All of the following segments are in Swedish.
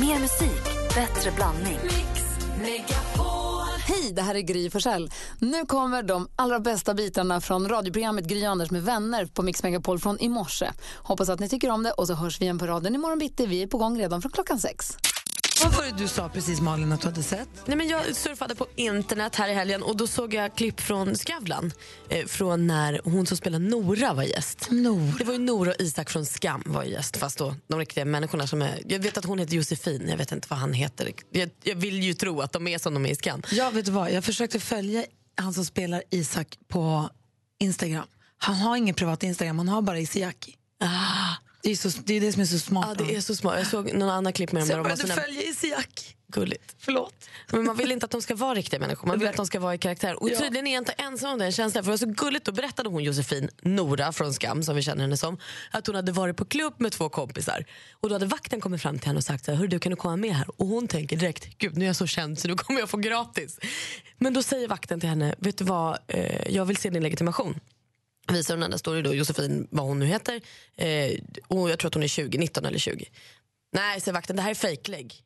Mer musik, bättre blandning. Hej, det här är Gry Forssell. Nu kommer de allra bästa bitarna från radioprogrammet Gry Anders med vänner på Mix Megapol från i morse. Hoppas att ni tycker om det och så hörs vi igen på radion imorgon bitti. Vi är på gång redan från klockan sex. Vad var det du sa precis Malin att du hade sett? Nej, men jag surfade på internet här i helgen och då såg jag klipp från Skavlan. Eh, från när hon som spelar Nora var gäst. Nora. Det var ju Nora och Isak från Skam var ju gäst. Fast då de riktiga människorna som är... Jag vet att hon heter Josefin, jag vet inte vad han heter. Jag, jag vill ju tro att de är som de är i Skam. Jag vet du vad, jag försökte följa han som spelar Isak på Instagram. Han har ingen privat Instagram, han har bara Isiaki. Ah, Det är, så, det är det som är så smart. ah, det är med så smart. Jag såg någon annan klipp med dem honom. så där jag de var började sina... följa Isiaki. Gulligt. Förlåt. Men man vill inte att de ska vara riktiga människor, man vill att de ska vara i karaktär. Och Ja. tydligen är jag inte ensam om den känslan. För det var så gulligt, då berättade hon Josefin, Nora från Skam som vi känner henne som, att hon hade varit på klubb med två kompisar. Och då hade vakten kommit fram till henne och sagt så här, "Hörru, du kan du komma med här? Och hon tänker direkt, gud nu är jag så känd så nu kommer jag få gratis. Men då säger vakten till henne, vet du vad, Eh, jag vill se din legitimation visar hon den där story då, Josefin, vad hon nu heter. Eh, och jag tror att hon är 20, 19 eller 20. Nej, säger vakten, det här är fejklägg.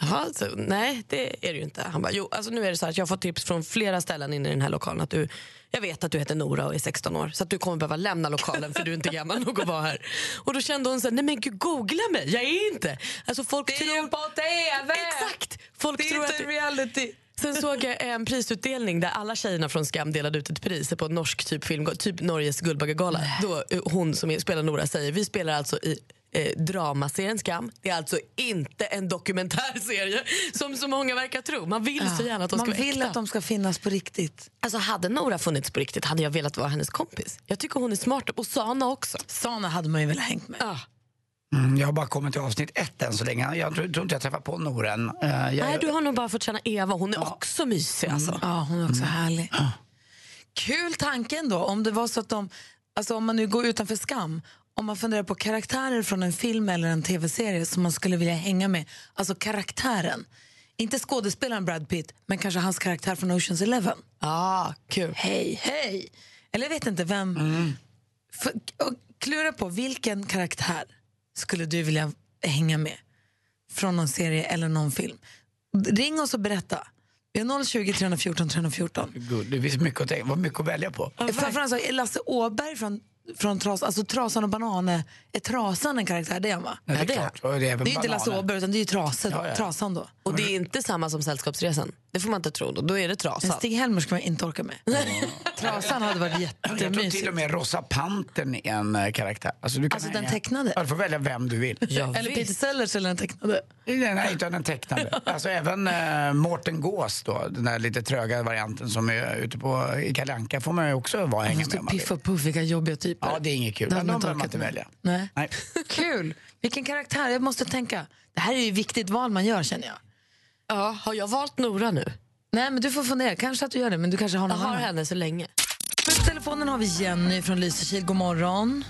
Jaha, så, nej det är det ju inte. Han bara, jo alltså nu är det så här att jag har fått tips från flera ställen inne i den här lokalen att du, jag vet att du heter Nora och är 16 år så att du kommer behöva lämna lokalen för du är inte gammal nog att vara här. Och då kände hon så här, nej men gud googla mig, jag är inte. Alltså folk det tror... på TV! Exakt! Folk tror att... reality. Sen såg jag en prisutdelning där alla tjejerna från Skam delade ut ett pris på en norsk typ film, typ Norges Guldbaggegala. Då eh, hon som är- spelar Nora säger, vi spelar alltså i eh, dramaserien Skam. Det är alltså inte en dokumentärserie som så många verkar tro. Man vill så gärna att de ska Man vara vill äkta. att de ska finnas på riktigt. Alltså hade Nora funnits på riktigt hade jag velat vara hennes kompis. Jag tycker hon är smart och Sana också. Såna hade man ju väl hängt med. Ah. Mm, jag har bara kommit till avsnitt ett än så länge. Jag tror, tror inte jag träffar på Nora än. Eh, jag, Nej, du har nog bara fått känna Eva, hon är också mysig alltså. Ja, hon är också härlig. Kul tanken då, om det var så att de, alltså om man nu går utanför skam, om man funderar på karaktärer från en film eller en tv-serie som man skulle vilja hänga med, alltså karaktären. Inte skådespelaren Brad Pitt, men kanske hans karaktär från Oceans Eleven. Ah, kul. Hej, hej! Eller jag vet inte vem. Mm. För, och klura på, vilken karaktär skulle du vilja hänga med från någon serie eller någon film? Ring oss och berätta. Vi har 020 314 314. Gud, det finns mycket att tänka vad mycket att välja på. Framförallt så är Lasse Åberg från, från tras, alltså Trasan och Bananer, är Trasan en karaktär det är han, va? Ja, det är det är- klart. Och det är, även Det är ju inte bananer. Lasse Åberg utan det är ju Trase, Ja, ja. Trasan då. Och det är inte samma som Sällskapsresan. Det får man inte tro. Då, då är det Men trasan. Stig-Helmer skulle man inte orka med. Trasan hade varit Jag tror till jättemysigt. och med Rosa Pantern är en eh, karaktär. Alltså, du kan Alltså, den hänga- tecknade? Ja, du får välja vem du vill. Ja, Eller visst. Peter Sellers eller den tecknade. Nej, nej, inte den tecknade. Alltså även eh, Mårten Gås då, den där lite tröga varianten som är ute på i Kalle Anka får man ju också vara hänga med om man vill. Piff Typ och Puff, vilka jobbiga typer. Ja, det är inget kul. Det Men hade de inte behöver man orkat inte med. välja. Nej. Nej. Kul! Vilken karaktär, jag måste tänka. Det här är ju ett viktigt val man gör känner jag. Ja, har jag valt Nora nu? Nej men du får fundera, kanske att du gör det men du kanske Jag har någon har annan. henne så länge. På telefonen har vi Jenny från Lysekil, god morgon.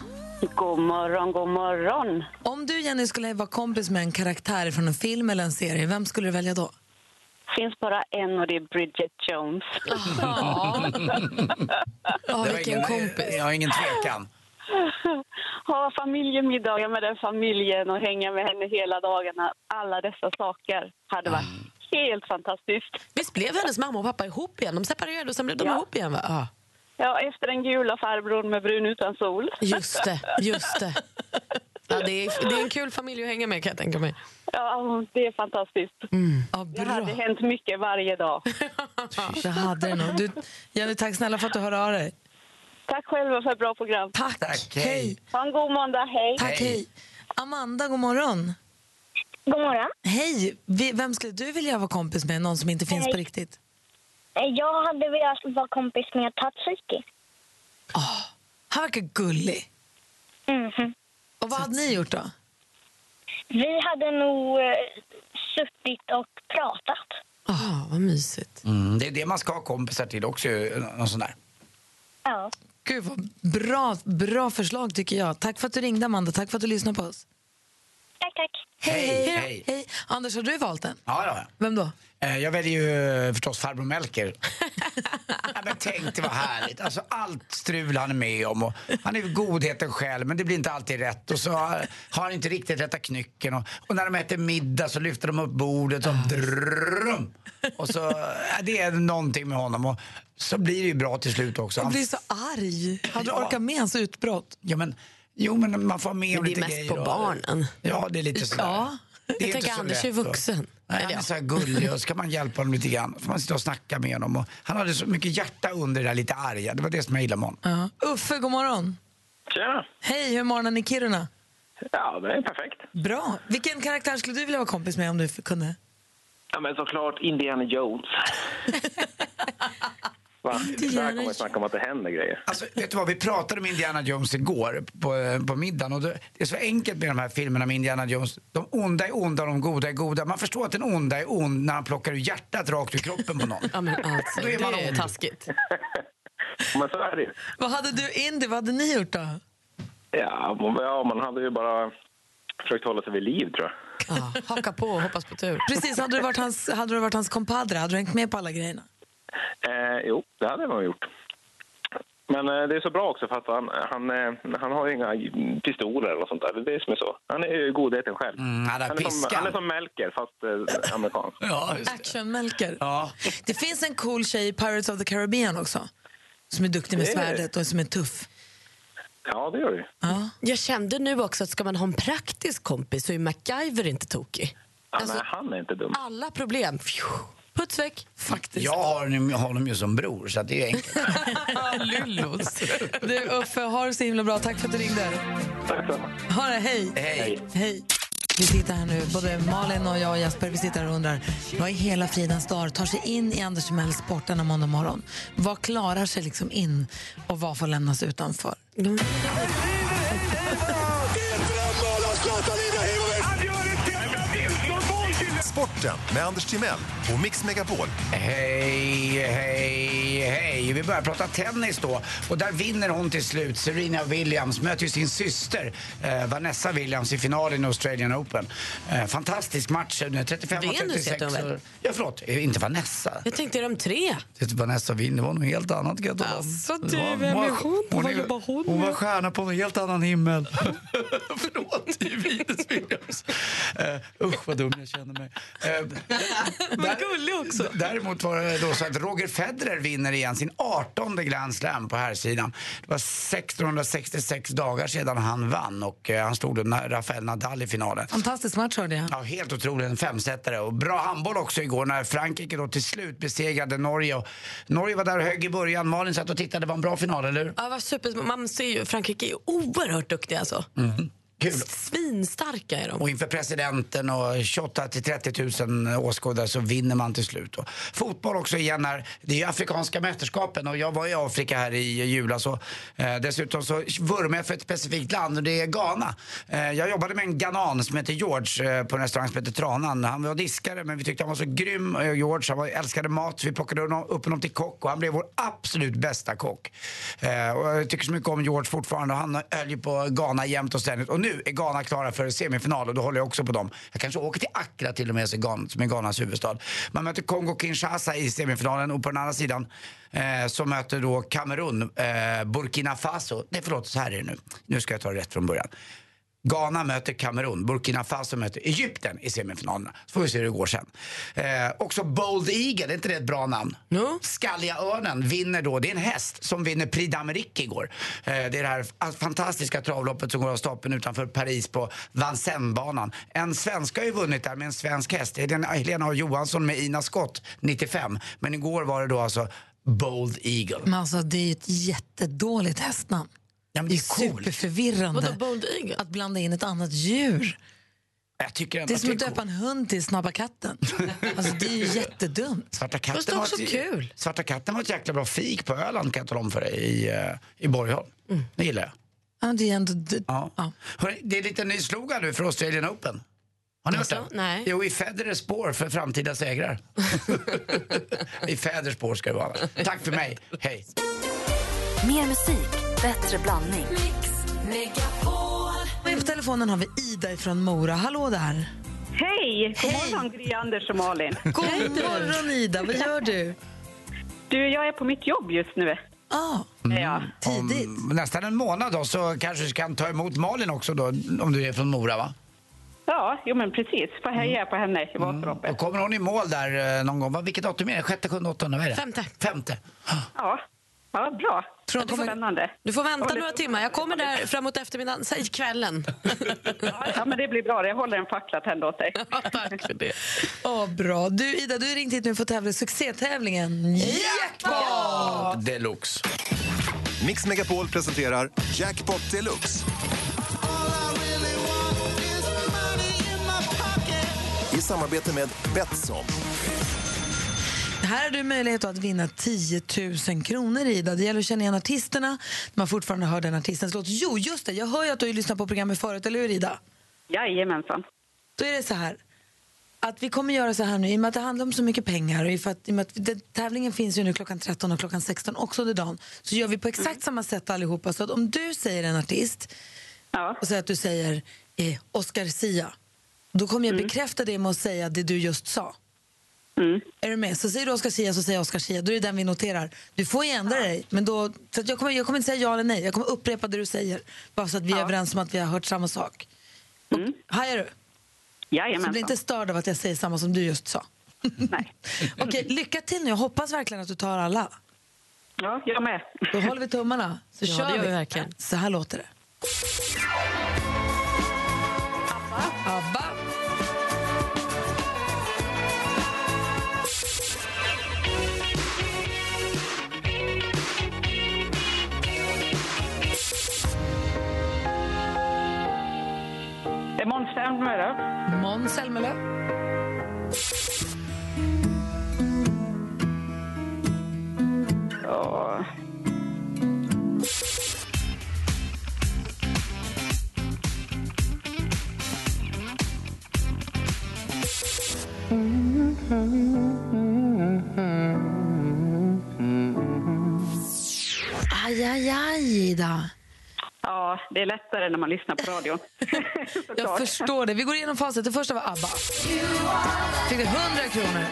God morgon, god morgon. Om du Jenny skulle vara kompis med en karaktär från en film eller en serie, vem skulle du välja då? finns bara en och det är Bridget Jones. Ja, Det var vilken ingen- kompis. Jag har ingen tvekan. Ha familjemiddagar med den familjen och hänga med henne hela dagarna. Alla dessa saker hade varit helt fantastiskt. Visst blev hennes mamma och pappa ihop igen? De separerade och sen blev de Ja. ihop igen va? Ja. Ja, efter den gula farbrorn med brun utan sol. Just det, just det. Ja, det, är, det är en kul familj att hänga med kan jag tänka mig. Ja, det är fantastiskt. Ja, Det hade bra. hänt mycket varje dag. Det hade det nog. Du, Jenny, tack snälla för att du hörde av dig. Tack själva för ett bra program. Tack. Tack, hej. Ha en god måndag, hej! Tack, hej. Amanda, god morgon. God morgon. Hej, Vi- vem skulle du vilja vara kompis med? Någon som inte finns på riktigt? Eh, Jag hade velat vara kompis med Tatsuki. Han verkar gullig. Mhm. Och vad hade ni gjort då? Vi hade nog eh, suttit och pratat. Ja, Ah, vad mysigt. Mm, det är det man ska ha kompisar till också. ju, Någon sån där. Ja. Gud, vad bra, bra förslag tycker jag. Tack för att du ringde Amanda, tack för att du lyssnade på oss. Tack. tack. Hej, Hej. hej. Hej. Anders, har du valt en? Ja, ja. Vem då? Eh, Jag väljer ju eh, förstås farbror Melker. ja, men tänk det var härligt. Alltså, allt strul han är med om. Och han är ju godheten själv men det blir inte alltid rätt. Och så har har han inte riktigt rätta knycken. Och, och när de äter middag så lyfter de upp bordet och Ah. drrrrum. Och så, ja, det är någonting med honom. Och så blir det ju bra till slut också. Han Han, blir så arg. Hade du Ja. orkat med hans utbrott? ja, men, jo men man får med Men om det är lite mest grejer. på och- barnen. Ja, det är lite sådär. Ja. Det Jag inte tänker så Anders är lätt, va? vuxen. Nej, Eller han är ja. så här gullig och så kan man hjälpa honom lite grann. Får man sitta och snacka med honom. Och han hade så mycket hjärta under det där lite arga. Det var det som jag gillade med honom. Ja. Uffe, god morgon. Tjena! Hej, hur är morgonen i Kiruna? Ja, det är perfekt. Bra. Vilken karaktär skulle du vilja vara kompis med om du f- kunde? Ja, men såklart Indiana Jones. Va? Där kommer vi snacka om att det händer grejer. Alltså, vet du vad? Vi pratade om Indiana Jones igår på, på middagen. Och det det är så enkelt med de här filmerna med Indiana Jones. De onda är onda och de goda är goda. Man förstår att den onda är ond när han plockar ur hjärtat rakt ur kroppen på någon. Ja, men alltså, Då är det man är ond. taskigt. Men så är det ju. Vad hade du Indy, vad hade ni gjort då? Ja, man- ja, man hade ju bara försökt hålla sig vid liv, tror jag. Ja, haka på och hoppas på tur. Precis, hade du varit hans, hade du varit hans kompadre? Hade du hängt med på alla grejerna? Eh, jo, det hade jag nog gjort. Men eh, det är så bra också, för att han, han, eh, han har ju inga pistoler eller något sånt där. Det är det som är så. Han är ju godheten själv. Mm, han har han, är som, piskan. han är som Melker, fast eh, amerikan. Ja, just det. Action-Melker. Ja. Det finns en cool tjej i Pirates of the Caribbean också. Som är duktig med Det är- svärdet och som är tuff. Ja, det gör det ju. Ja. Jag kände nu också att ska man ha en praktisk kompis så är MacGyver inte tokig. Ja, Alltså- nej, han är inte dum. Alla problem, pju, puts väck. Faktiskt. Jag har honom- honom ju som bror, så att det är enkelt. Lyllos. Du Uffe, ha det så himla bra. Tack för att du ringde. Tack så mycket. Ha det, hej. Hej. Hej. Vi sitter här nu, både Malin och jag och Jesper, vi sitter här och undrar vad i hela fridens dag tar sig in i Anders Timells sport denna måndag morgon? Vad klarar sig liksom in och vad får lämnas utanför? Mm. Sporten med Anders Timell och Mix Megapol. Hej, hej, hej. Vi börjar prata tennis då. Och där vinner hon till slut. Serena Williams möter ju sin syster eh, Vanessa Williams i finalen i Australian Open. Eh, fantastisk match. Nu är 35 och Venus 36. heter hon väl? och- Ja, förlåt. Eh, Inte Vanessa. Jag tänkte, är de tre? Det- typ Vanessa vinner var något helt annat. Kan jag tala om. Alltså, du, Det var- vem är hon? Hon, Vad jobbar hon är, hon var stjärna på en helt annan himmel. Förlåt, det är Venus Williams. Eh, usch, vad dum jag känner mig. Men gullig också. Däremot var det då så att Roger Federer vinner igen sin 18 Grand Slam på här sidan. Det var 1666 dagar sedan han vann och eh, han stod då med Rafael Nadal i finalen. Fantastisk match hörde jag. Ja, helt otroligt. En femsetare. Och bra handboll också igår när Frankrike då till slut besegrade Norge. Och Norge var där och högg i början. Malin satt och tittade. Det var en bra final, eller hur? Ja, vad super. Man ser ju, Frankrike är oerhört duktiga alltså. Kul. Svinstarka är de. Och inför presidenten och 28 till 30 000 åskådare så vinner man till slut. Och fotboll också igen här. Det är ju afrikanska mästerskapen och jag var i Afrika här i julas och eh, dessutom så vurmar jag för ett specifikt land och det är Ghana. Eh, jag jobbade med en ghanan som heter George eh, på en restaurang som heter Tranan. Han var diskare men vi tyckte han var så grym, eh, George. Han var, älskade mat. Vi plockade honom, upp honom till kock och han blev vår absolut bästa kock. Eh, och jag tycker så mycket om George fortfarande och han höll ju på Ghana jämt och ständigt. Och nu är Ghana klara för semifinal och då håller jag också på dem. Jag kanske åker till Accra till och med som är Ghan- som är Ghanas huvudstad. Man möter Kongo-Kinshasa i semifinalen och på den andra sidan eh, så möter då Kamerun eh, Burkina Faso. Nej förlåt, så här är det nu. Nu ska jag ta det rätt från början. Ghana möter Kamerun, Burkina Faso möter Egypten i semifinalerna. Så får vi se hur det går sen. Eh, också Bold Eagle, är inte det ett bra namn? Jo. Skalliga örnen vinner då, det är en häst som vinner Prix d'Amérique igår. Eh, det är det här fantastiska travloppet som går av stapeln utanför Paris på Vincennes-banan. En svensk har ju vunnit där med en svensk häst. Det är den Helena och Johansson med Ina Skott 95. Men igår var det då alltså Bold Eagle. Men alltså det är ju ett jättedåligt hästnamn. Ja, men Det det är är coolt. superförvirrande Vadå, Bold Eagle? att blanda in ett annat djur. Jag tycker ändå Det är som att att det är döpa coolt. en hund till Snabba katten. Alltså det är ju jättedumt. Svarta katten, Fast det är var också ett, kul. Svarta katten var ett jäkla bra fik på Öland kan jag tala om för dig i, eh, i Borgholm. Det gillar jag. Ja, det är ändå... d- Ja. Ja. Hörrni, det är lite ny slogan nu för Australian Open. Har ni hört Alltså, den? nej. Jo, i Federers spår för framtida segrar. I Feders spår ska det vara. Tack för mig. Hej. Mer musik, bättre blandning. Vi är på telefon telefonen har vi Ida från Mora. Hallå där! Hej! God morgon, Gry, Anders och Malin. God morgon Ida, vad gör du? Du, jag är på mitt jobb just nu. Ah, Ja. tidigt. Om nästan en månad då så kanske du kan ta emot Malin också då, om du är från Mora va? Ja, jo men precis. Får heja på henne i Vasaloppet. Och kommer hon i mål där eh, någon gång? Vad- Vilket datum är det? Sjätte, sjunde, åttonde? Vad är det? Femte. Femte. Ah, Ja. ja, bra. Tror det du var kommer- spännande. Du får vänta Ja, det- några timmar. Jag kommer där framåt eftermiddagen, säg kvällen. Ja, men det blir bra. Jag håller en fackla tänd åt dig. Ja, Tack för det. Ah, bra. Du Ida, du har ringt hit nu för att tävla i succétävlingen Jackpot! Deluxe. Mix Megapol presenterar Jackpot Deluxe. I samarbete med Betsson. Här har du möjlighet att vinna 10 000 kronor Ida. Det gäller att känna igen artisterna när man fortfarande hör den artistens låt. Jo, just det. Jag hör ju att du har lyssnat på programmet förut, eller hur Ida? Jajamensan. Då är det så här att vi kommer göra så här nu i och med att det handlar om så mycket pengar och i för att, i och med att den, tävlingen finns ju nu klockan 13 och klockan 16 också under dagen så gör vi på exakt Mm. samma sätt allihopa så att om du säger en artist Ja. och säger att du säger eh, Oscar Sia då kommer jag bekräfta det med att säga det du just sa. Mm. Är du med? Så säger du Oscar Sia så säger jag Oscar Sia. Då är det den vi noterar. Du får ju ändra dig. Men då, så att jag, kommer, jag kommer inte säga ja eller nej. Jag kommer upprepa det du säger. Bara så att vi är överens om att vi har hört samma sak. Mm. Hajar du? Så Jajamensan. bli inte störd av att jag säger samma som du just sa. Nej. Okej, lycka till nu. Jag hoppas verkligen att du tar alla. Ja, jag med. Då håller vi tummarna. Så Ja, kör det gör vi. vi verkligen. Så här låter det. Abba. Det är Måns Zelmerlöw. Måns Zelmerlöw. Ja. Aj, aj, aj, Ida. ja, det är lättare när man lyssnar på radion. Jag Såklart. förstår det. Vi går igenom facit. Det första var ABBA. Fick du 100 kronor.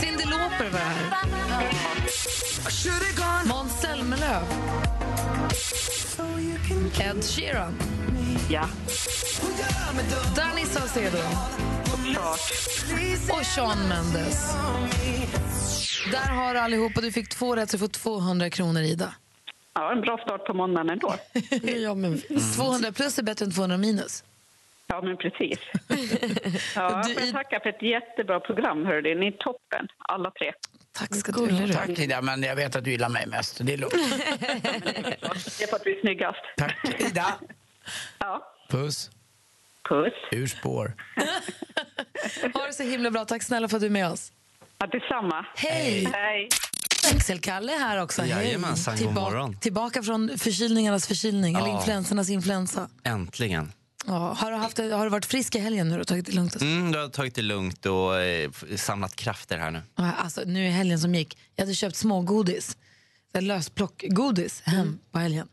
Cyndi Lauper var det här. Måns Zelmerlöw. Ed Sheeran. Ja, Danny Saucedo. såklart. Och Sean Mendes. Där har du allihopa. Du fick två rätt, så du får 200 kronor, Ida. Ja, en bra start på måndagen ändå. Ja, men... 200 plus är bättre än 200 minus. Ja, men precis. Ja, Du, får i- jag tacka för ett jättebra program, hörde Ni är toppen, alla tre. Tack ska du ha. Tack Ida, men jag vet att du gillar mig mest. Det är lugnt. Det är för att vi är snyggast. Tack Ida. Ja, Puss. puss. Ur spår. Ha det så himla bra. Tack snälla för att du är med oss. Ja, detsamma. Hej! Hej. Växelkalle är här också. Jajamensan, god morgon. Tillbaka från förkylningarnas förkylning, eller Ja. influensernas influensa. Äntligen. Ja. Har, du haft, har du varit frisk i helgen nu och tagit det lugnt? och så? Mm, du har tagit det lugnt och eh, f- samlat krafter här nu. Ja, Alltså, nu i helgen som gick, jag hade köpt smågodis, så här lösplockgodis hem på helgen.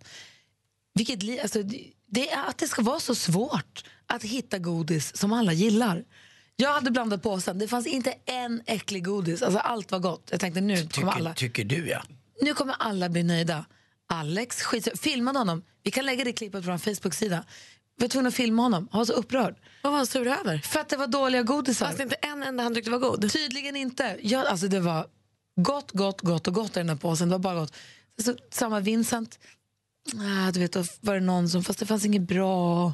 Vilket, li- alltså, det- det är att det ska vara så svårt att hitta godis som alla gillar. Jag hade blandat påsen, det fanns inte en äcklig godis. Alltså, allt var gott. Jag tänkte nu kommer alla. Tycker, tycker du ja. nu kommer alla bli nöjda. Alex skit, filmade honom. Vi kan lägga det klippet på vår Facebook-sida. Vi var tvungna att filma honom. Han var så upprörd. Vad var han sur över? För att det var dåliga godisar. Fast inte en enda han tyckte var god. Tydligen inte. Ja, alltså det var gott, gott, gott och gott i den här påsen. Det var bara gott. Så, samma Vincent. Ah, du vet, då var det någon som, fast det fanns inget bra.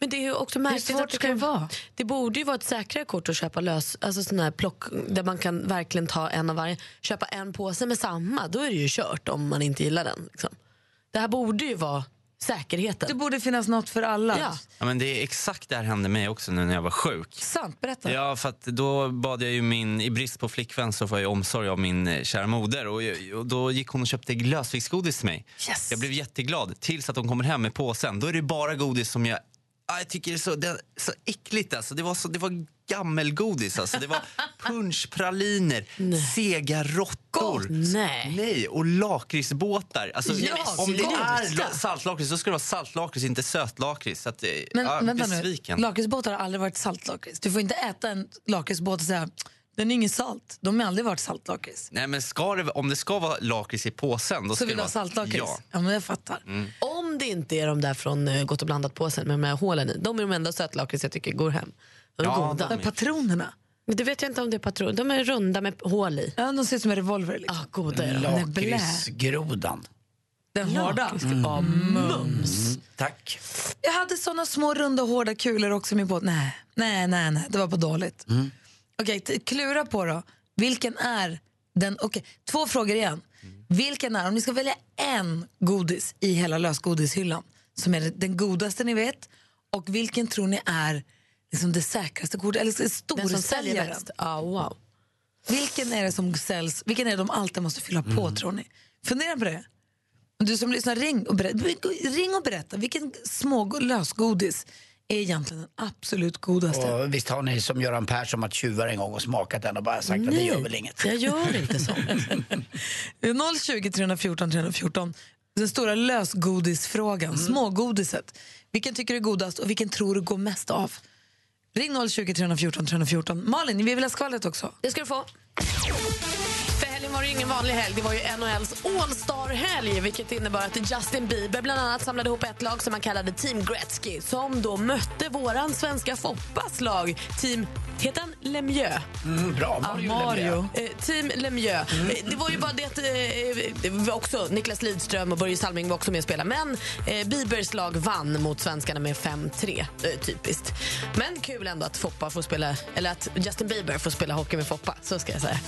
Men det är ju också märkligt svårt att ska det kan- vara? Det borde ju vara ett säkrare kort att köpa lös, alltså sån här plock där man kan verkligen ta en av varje. Köpa en påse med samma, då är det ju kört om man inte gillar den. Liksom. Det här borde ju vara Det säkerheten. borde finnas något för alla. Ja. Ja, men det är exakt det här hände mig också nu när jag var sjuk. Sant, berätta. Ja, för att då bad jag ju min, i brist på flickvän så får jag ju omsorg av min eh, kära moder och, jag- och då gick hon och köpte lösviktsgodis till mig. Yes. Jag blev jätteglad tills att hon kommer hem med påsen. Då är det bara godis som jag Ja, jag tycker det är så, det är så äckligt. Alltså. Det, var så, det var gammelgodis. Alltså. Det var punschpraliner, sega råttor. Nej. och lakritsbåtar. Alltså, Ja, men om det sluta. är la- saltlakrits så ska det vara saltlakrits, inte sötlakrits. Så att, eh, Men ja, vänta nu, besviken. lakritsbåtar har aldrig varit saltlakrits. Du får inte äta en lakritsbåt och säga den är ingen salt. De har aldrig varit saltlakrits. Nej, men ska det, om det ska vara lakrits i påsen... Då Så ska det vill du ha vara saltlakrits? Ja. Ja. men jag fattar. Mm. Om det inte är de där från eh, Gott och blandat-påsen med de här hålen i. De är de enda sötlakrits jag tycker går hem. De är Ja, goda. de är- Patronerna? Men det vet jag inte om det är patroner. De är runda med hål i. Ja, de ser ut som en revolver. Liksom. Ah, goda är de. Den är blä. Lakritsgrodan. Den hårda? Ja, mums. Tack. Jag hade såna små runda hårda kulor också i min båt. Nej, nej, nej, nej. det var på dåligt. Okej, t- klura på då. Vilken är den... Okej, två frågor igen. Vilken är, om ni ska välja en godis i hela lösgodishyllan som är den godaste ni vet och vilken tror ni är liksom det säkraste kortet, eller Den som säljer storsäljaren? bäst. Ah, wow. Vilken är det som säljs, vilken är det de alltid måste fylla på tror ni? Fundera på det. Du som lyssnar, ring och berätta, ring och berätta vilken små lösgodis är egentligen den absolut godaste? Och visst har ni som Göran Persson varit tjuvar en gång och smakat den och bara sagt att det Nej, gör väl inget. Jag gör inte så. 020 314 314. Den stora lösgodisfrågan, Mm. smågodiset. Vilken tycker du är godast och vilken tror du går mest av? Ring 020 314 314. Malin, vi vill ha skvallret också. Det ska du få. För helgen var det ju ingen vanlig helg. Det var ju NHLs All-star-helg vilket innebär att Justin Bieber bland annat samlade ihop ett lag som han kallade Team Gretzky som då mötte våran svenska Foppas lag, Team... Heter han Lemieux? Mm, bra, Mario. Lemieux. Eh, Team Lemieux. Eh, Det var ju bara det att eh, det var också Niklas Lidström och Börje Salming var också med och spelade. Men eh, Bibers lag vann mot svenskarna med 5-3. Eh, typiskt. Men kul ändå att, Foppa får spela, eller att Justin Bieber får spela hockey med Foppa. Så ska jag säga.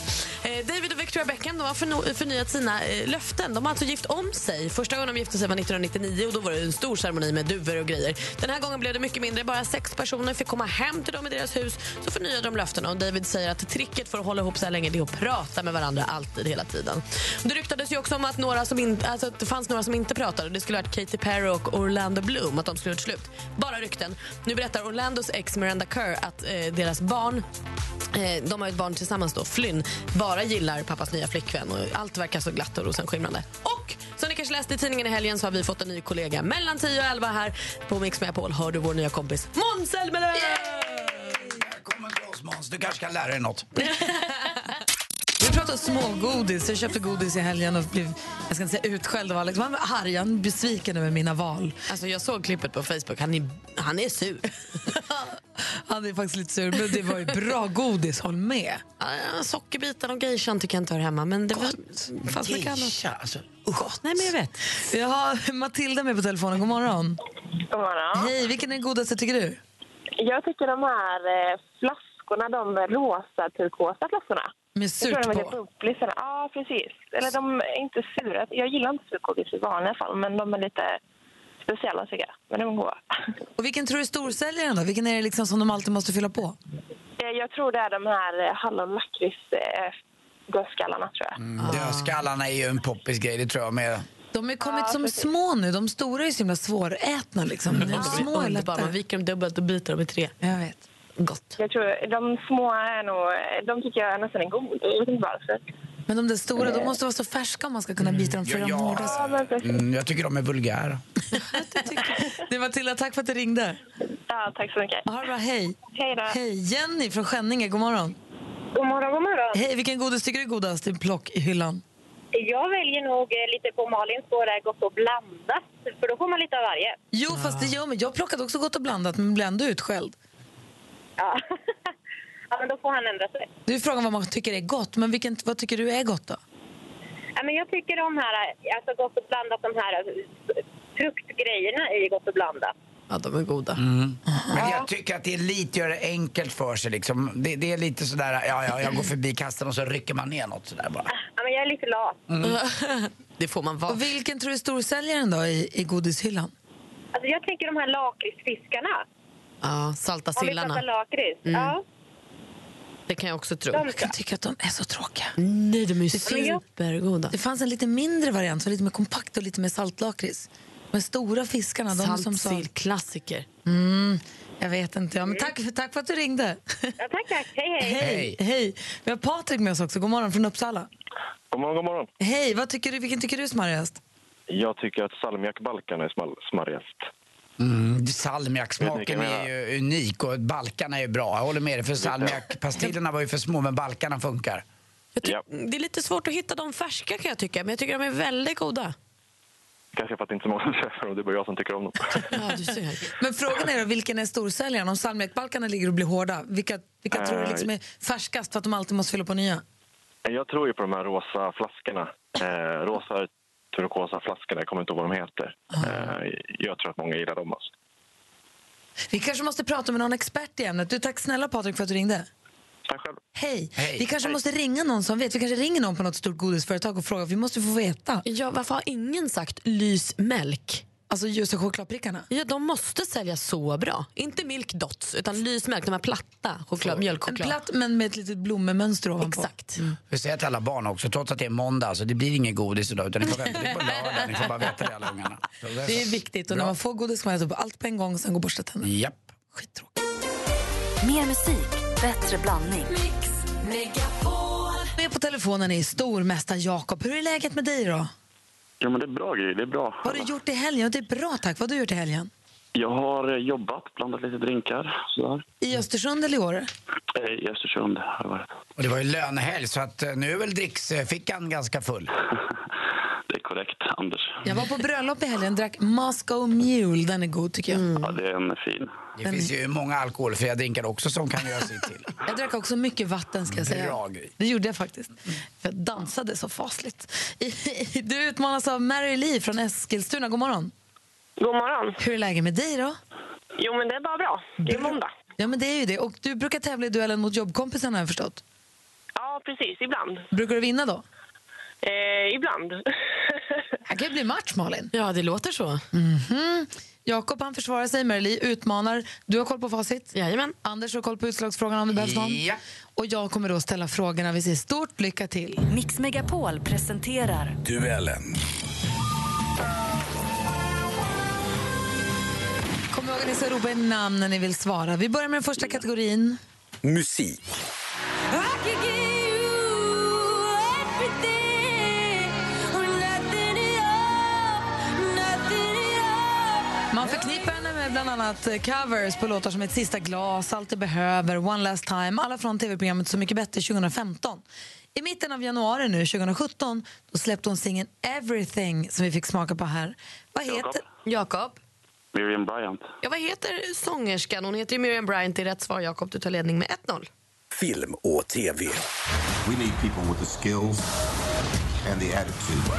Eh, David och Victoria Beckham de har förno- förnyat sina eh, löften. De har alltså gift om sig. Första gången de gifte sig var 1999 och då var det en stor ceremoni med duvor och grejer. Den här gången blev det mycket mindre. Bara sex personer fick komma hem till dem i deras hus. Så förnyade de löftena och David säger att tricket för att hålla ihop så här länge det är att prata med varandra alltid, hela tiden. Det ryktades ju också om att, några som in, alltså att det fanns några som inte pratade. Det skulle ha varit Katy Perry och Orlando Bloom, att de skulle ha gjort slut. Bara rykten. Nu berättar Orlandos ex Miranda Kerr att eh, deras barn Eh, de har ju ett barn tillsammans då, Flynn, bara gillar pappas nya flickvän och allt verkar så glatt och rosenskimrande. Och som ni kanske läste i tidningen i helgen så har vi fått en ny kollega mellan 10 och 11 här på Mix Megapol. Har du vår nya kompis Måns Zelmerlöw! Välkommen till oss Måns, du kanske kan lära dig något. Vi pratar smågodis. Jag köpte godis i helgen och blev jag ska inte säga utskälld av Alex. Han var arg, han var besviken över mina val. Alltså jag såg klippet på Facebook, han är, han är sur. Han är faktiskt lite sur, men det var ju bra godis, håll med. Ah, Sockerbiten och geishan tycker jag inte hör hemma, men det var, fanns mycket annat. Geisha, alltså. Nej, men jag vet. Jag har Matilda med på telefonen. God morgon. God morgon. Hej, vilken är den godaste tycker du? Jag tycker de här eh, flaskorna, de rosa turkosa flaskorna. Med jag tror surt de är på. lite bubblisarna. Ja, precis. Eller de är inte sura. Jag gillar inte surkåkis i vanliga fall, men de är lite speciella tycker jag. Men de är goda. Och vilken tror du är storsäljaren då? Vilken är det liksom som de alltid måste fylla på? Eh, Jag tror det är de här eh, hallon-lakrits-dödskallarna, eh, tror jag. Mm. Mm. Dödskallarna är ju en poppisgrej, det tror jag med. De har ju kommit som små nu. De stora är ju så himla svårätna liksom. Men Ja. de små är Underbara. Man lättare. viker dem dubbelt och biter dem i tre. Jag vet. Gott. Jag tror de små är nog... eh, De tycker jag nästan är goda. Jag vet inte varför. Men de där stora, de måste vara så färska om man ska kunna bita dem för Ja, de ja. mordas. Ja, men precis. Mm, jag tycker de är vulgära. Du Matilda, tack för att du ringde. Ja, tack så mycket. Ha det bra, hej. Hej då. Hej, Jenny från Skänninge, god morgon. God morgon, god morgon. Hej, vilken godis tycker du är godast i plockhyllan? Jag väljer nog eh, lite på Malins spår där, gott och blandat. För då får man lite av varje. Jo, fast det gör mig. Jag plockade också gott och blandat, men blev ändå utskälld. Ja. ja, men då får han ändra sig. Det är frågan vad man tycker är gott, men vilken, vad tycker du är gott då? Ja, men jag tycker de här, eh, alltså gott och blandat, de här eh, fruktgrejerna i gott och blandat. Ja, de är goda. Men jag tycker att det är lite gör det enkelt för sig liksom. Det, det är lite sådär, ja, ja, jag går förbi kassen och så rycker man ner något sådär bara. Ja, men jag är lite lat. Mm. Det får man vara. Och vilken tror du är storsäljaren då i, i godishyllan? Alltså, jag tänker de här lakritsfiskarna. Ja, salta Om vi sillarna. pratar lakrits. Mm. Ja. Det kan jag också tro. De- Jag kan tycka att de är så tråkiga. Nej, de är ju Det finns- supergoda. Det fanns en lite mindre variant, så lite mer kompakt och lite mer saltlakrits. De stora fiskarna, de som sa... Saltsillklassiker. Mm, jag vet inte. Ja, men Mm. tack, för, tack för att du ringde. Ja, tack, tack. Hej, hej. Hej. Vi har Patrik med oss också. God morgon från Uppsala. God morgon, god morgon. Hej, vad tycker du, vilken tycker du är smarrigast? Jag tycker att salmiakbalkarna är smal- smarrigast. Mm, Vet ni salmiaksmaken vad jag är ju unik och balkarna är ju bra. Jag håller med dig för salmiakpastillerna var ju för små men balkarna funkar. Mm, Det är lite svårt att hitta de färska kan jag tycka, men jag tycker de är väldigt goda. Kanske för att det inte är många som köper dem, det är bara jag som tycker om dem. Men frågan är då, vilken är storsäljaren? Om salmiakbalkarna ligger och blir hårda, vilka, vilka tror du liksom är färskast för att de alltid måste fylla på nya? Jag tror ju på de här rosa flaskorna. Eh, rosa turkosa flaskorna, jag kommer inte ihåg vad de heter. Ah. Eh, jag tror att många gillar dem. Alltså. Vi kanske måste prata med någon expert i ämnet. Du, tack snälla Patrik för att du ringde. Tack själv. Hej. Hej. Vi kanske Hej. måste ringa någon som vet. Vi kanske ringer någon på något stort godisföretag och frågar. Vi måste få veta. Ja, varför har ingen sagt lysmälk? Alltså just chokladprickarna? Ja, de måste sälja så bra. Inte Milk Dots, utan lysmälk, de här platta choklad, En mjölkchoklad. Mm. platt men med ett litet blommemönster ovanpå. Exakt. Vi säger till alla barn också, trots att det är måndag, så det blir inget godis idag utan ni får vänta till på lördag. Ni får bara veta det alla ungarna. Så är Det så. är viktigt. Och när Bra. man får godis kan man äta upp allt på en gång och sen gå och borsta tänderna. Japp. Mer musik, bättre blandning. Med på telefonen är stormästaren Jakob. Hur är läget med dig då? Ja, men det är bra grejer, det är bra. Vad har du gjort i helgen? Det är bra tack. Vad har du gjort i helgen? Jag har eh, jobbat, blandat lite drinkar sådär. I Östersund eller i Åre? Eh, I Östersund har jag varit. Och det var ju lönehelg så att eh, nu är väl dricksfickan ganska full. Det är korrekt, Anders. Jag var på bröllop i helgen drack Moscow Mule. Den är god tycker jag. Ja, det är en fin. Det finns ju många alkoholfria drinkar också som kan göra sitt till. Jag drack också mycket vatten ska jag säga. Bra grej. Det gjorde jag faktiskt. Mm. För jag dansade så fasligt. Du utmanas av Mary Lee från Eskilstuna. God morgon. God morgon. Hur är läget med dig då? Jo, men det är bara bra. Det är måndag. Ja men det är ju det. Och du brukar tävla i duellen mot jobbkompisarna har jag förstått. Ja, precis. Ibland. Brukar du vinna då? Eh, ibland. Det kan ju bli match Malin. Ja, det låter så. Mhm. Jakob han försvarar sig, Mary Lee utmanar. Du har koll på facit. Jajamän. Anders har koll på utslagsfrågan om det behövs någon. Ja. Och jag kommer då ställa frågorna. Vi säger stort lycka till. Mix Megapol presenterar Duellen. Kom ihåg att ni ska ropa er namn när ni vill svara. Vi börjar med den första kategorin. Musik. Man förknippar henne med bland annat eh, covers på låtar som Ett sista glas, Allt du behöver, One last time, alla från tv-programmet Så mycket bättre 2015. I mitten av januari nu, 2017 då släppte hon singeln Everything som vi fick smaka på här. Vad heter... Jakob? Miriam Bryant. Ja, vad heter sångerskan? Hon heter ju Miriam Bryant. Det är rätt svar, Jakob. Du tar ledning med 1-0. Film och tv. We need people with the skills and the attitude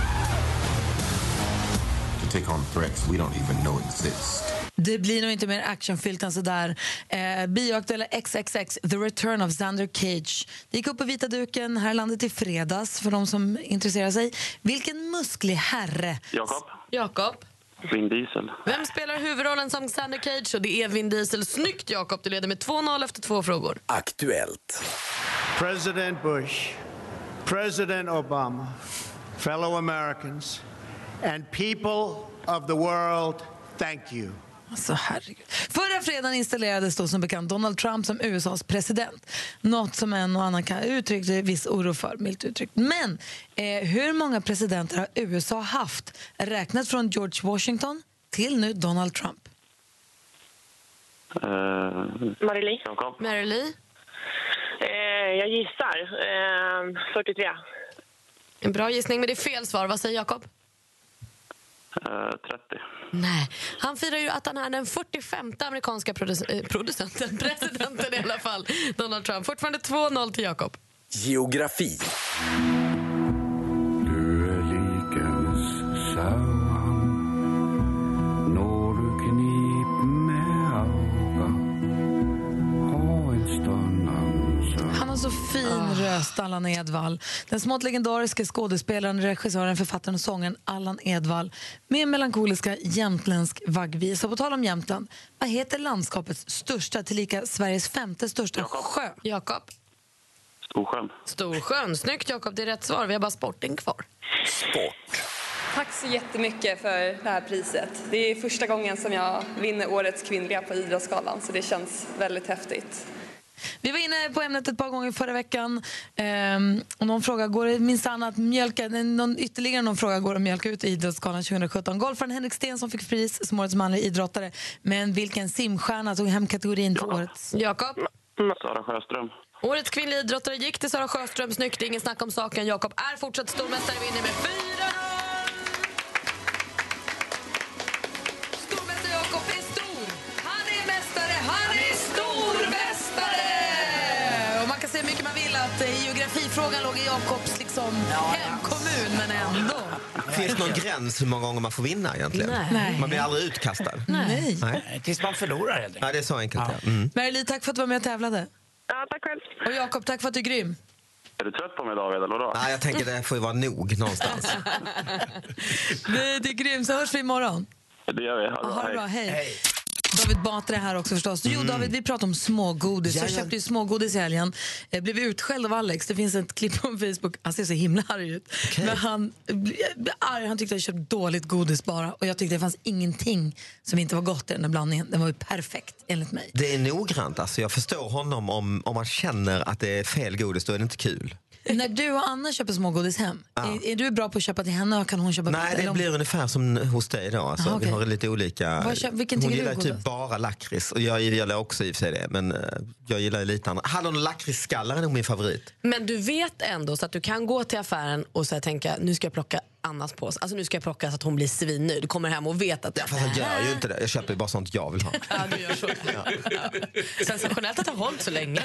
to take on threats we don't even know exist. Det blir nog inte mer actionfyllt än sådär. Eh, bioaktuella XXX, The Return of Xander Cage. Det gick upp på vita duken här i landet i fredags för de som intresserar sig. Vilken musklig herre! Jakob, Jakob? Vin Diesel. Vem spelar huvudrollen som Xander Cage? Och det är Vin Diesel. Snyggt, Jakob. Du leder med 2-0 efter två frågor. Aktuellt. President Bush, President Obama, fellow Americans, and people of the world, thank you. Alltså, herregud. Förra fredagen installerades då som bekant Donald Trump som USAs president. Något som en och annan kan uttryckte viss oro för, milt uttryckt. Men eh, hur många presidenter har USA haft? Räknat från George Washington till nu Donald Trump. Eh, Marie-Li. Jakob. Marie-Li. Eh, jag gissar. Eh, 43. En bra gissning, men det är fel svar. Vad säger Jakob? eh, 30. Nej. Han firar ju att han är den 45 amerikanska produc- eh, producenten, presidenten i alla fall, Donald Trump. Fortfarande 2-0 till Jakob. Geografi. Du är likens sauan Når du knip med auga Ha en stund Han har så fin Ah. röst, Allan Edwall. Den smått legendariske skådespelaren, regissören, författaren och sångaren Allan Edwall med melankoliska jämtländsk vaggvisa. På tal om Jämtland, vad heter landskapets största, tillika Sveriges femte största sjö? Jakob. Storsjön. Storsjön. Snyggt, Jakob. Det är rätt svar. Vi har bara sporten kvar. Sport. Tack så jättemycket för det här priset. Det är första gången som jag vinner Årets kvinnliga på Idrottsgalan så det känns väldigt häftigt. Vi var inne på ämnet ett par gånger förra veckan. Ehm, och någon fråga, går det minsann att mjölka, nej, någon, ytterligare någon fråga går att mjölka ut i Idrottsgalan 2017. Golfaren Henrik Sten som fick pris som årets manlig idrottare. Men vilken simstjärna tog hem kategorin för årets? Jakob? Sara Sjöström. Årets kvinnliga idrottare gick till Sara Sjöström. Snyggt, det är ingen snack om saken. Jakob är fortsatt stormästare. Vinner med fyra rond! Stormästare Jakob är stor! Han är mästare! Han är stormästare! Och man kan säga hur mycket man vill att eh, geografifrågan låg i Jakobs liksom, hemkommun, men ändå. Finns det någon gräns hur många gånger man får vinna egentligen? Nej. Man blir aldrig utkastad? Nej. Tills man förlorar helt enkelt. Ja, det är så enkelt. Ja. Mm. Mary-Li, tack för att du var med och tävlade. Ja, tack själv. Och Jakob, tack för att du är grym. Är du trött på mig David, eller vadå? Nej, jag tänker det får ju vara nog någonstans. Du, du är grym, så hörs vi imorgon. Det gör vi. Ha det bra, hej. David Batra är här också förstås. Jo, David, vi pratar om smågodis. Jag Jajamän. köpte ju smågodis i helgen. Jag blev utskälld av Alex. Det finns ett klipp på Facebook. Han ser så himla arg ut. Men han blev arg. Han tyckte att jag köpt dåligt godis bara. Och jag tyckte det fanns ingenting som inte var gott i den där blandningen. Den var ju perfekt, enligt mig. Det är noggrant. Alltså. Jag förstår honom om, om man känner att det är fel godis, då är det inte kul. När du och Anna köper smågodis hem, är, är du bra på att köpa till henne och kan hon köpa Nej, eller det om- blir ungefär som hos dig då. Alltså, Aha, Ah, okej. Vi har lite olika... Vad kö- vilken Hon tycker du gillar är typ godast? bara lakrits. Och jag gillar också i och för sig det, men eh, jag gillar ju lite annat. Hallon och lakritsskallar är nog min favorit. Men du vet ändå så att du kan gå till affären och så här tänka nu ska jag plocka Annas påse. Alltså nu ska jag plocka så att hon blir svinnöjd. Kommer hem och vet att... Ja, Fast jag gör ju inte det. Jag köper ju bara sånt jag vill ha. du gör så. Sensationellt att det har hållit så länge.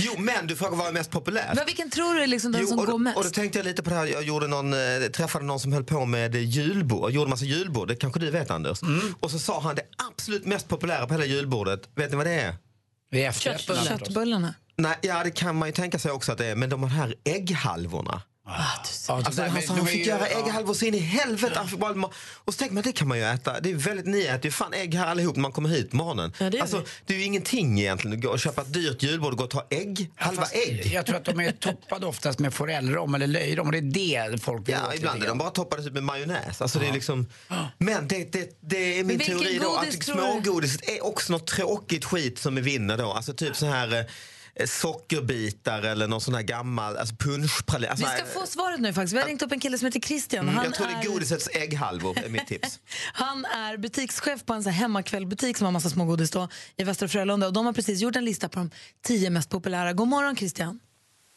Jo, men du frågar vad är mest populärt? Vad- Vilken tror du är liksom den Jo, som och, då- går och då mest? tänkte jag lite på det här. Jag gjorde någon, eh, träffade någon som höll på med julbord. Gjorde massa julbord. Det kanske du vet Anders. Mm. Och så sa han det absolut mest populära på hela julbordet. Vet ni vad det är? Det är Köttbullarna. Köttbullarna. Nej, ja det kan man ju tänka sig också att det är. Men de här ägghalvorna. Ah, Alltså, han sa han fick göra ägghalvor så in i helvete. Han fick bara, ma- och så tänker man det kan man ju äta. Det är väldigt, ni äter ju fan ägg här allihop när man kommer hit på morgonen. gör alltså, det är ju ingenting egentligen. att gå och köpa ett dyrt julbord och gå och ta ägg. Halva Fast ägg. Jag tror att de är toppade oftast med forellrom eller löjrom och det är det folk vill Ja, åt ibland lite är grann. de bara toppade typ med majonnäs. Alltså, det är liksom, men det, det, det är min Vilken teori då godis att tror du? smågodiset är också något tråkigt skit som är vinner då. Alltså typ så här eh, sockerbitar eller någon sån här gammal alltså punschpralin. Alltså, Vi ska eh, få svaret nu faktiskt. Vi har ringt upp en kille som heter Christian. mm, han, jag tror det är, är godisets ägghalvor är mitt tips. han är butikschef på en så här hemmakvällbutik som har massa smågodis då, i Västra Frölunda. Och de har precis gjort en lista på de tio mest populära. God morgon Christian.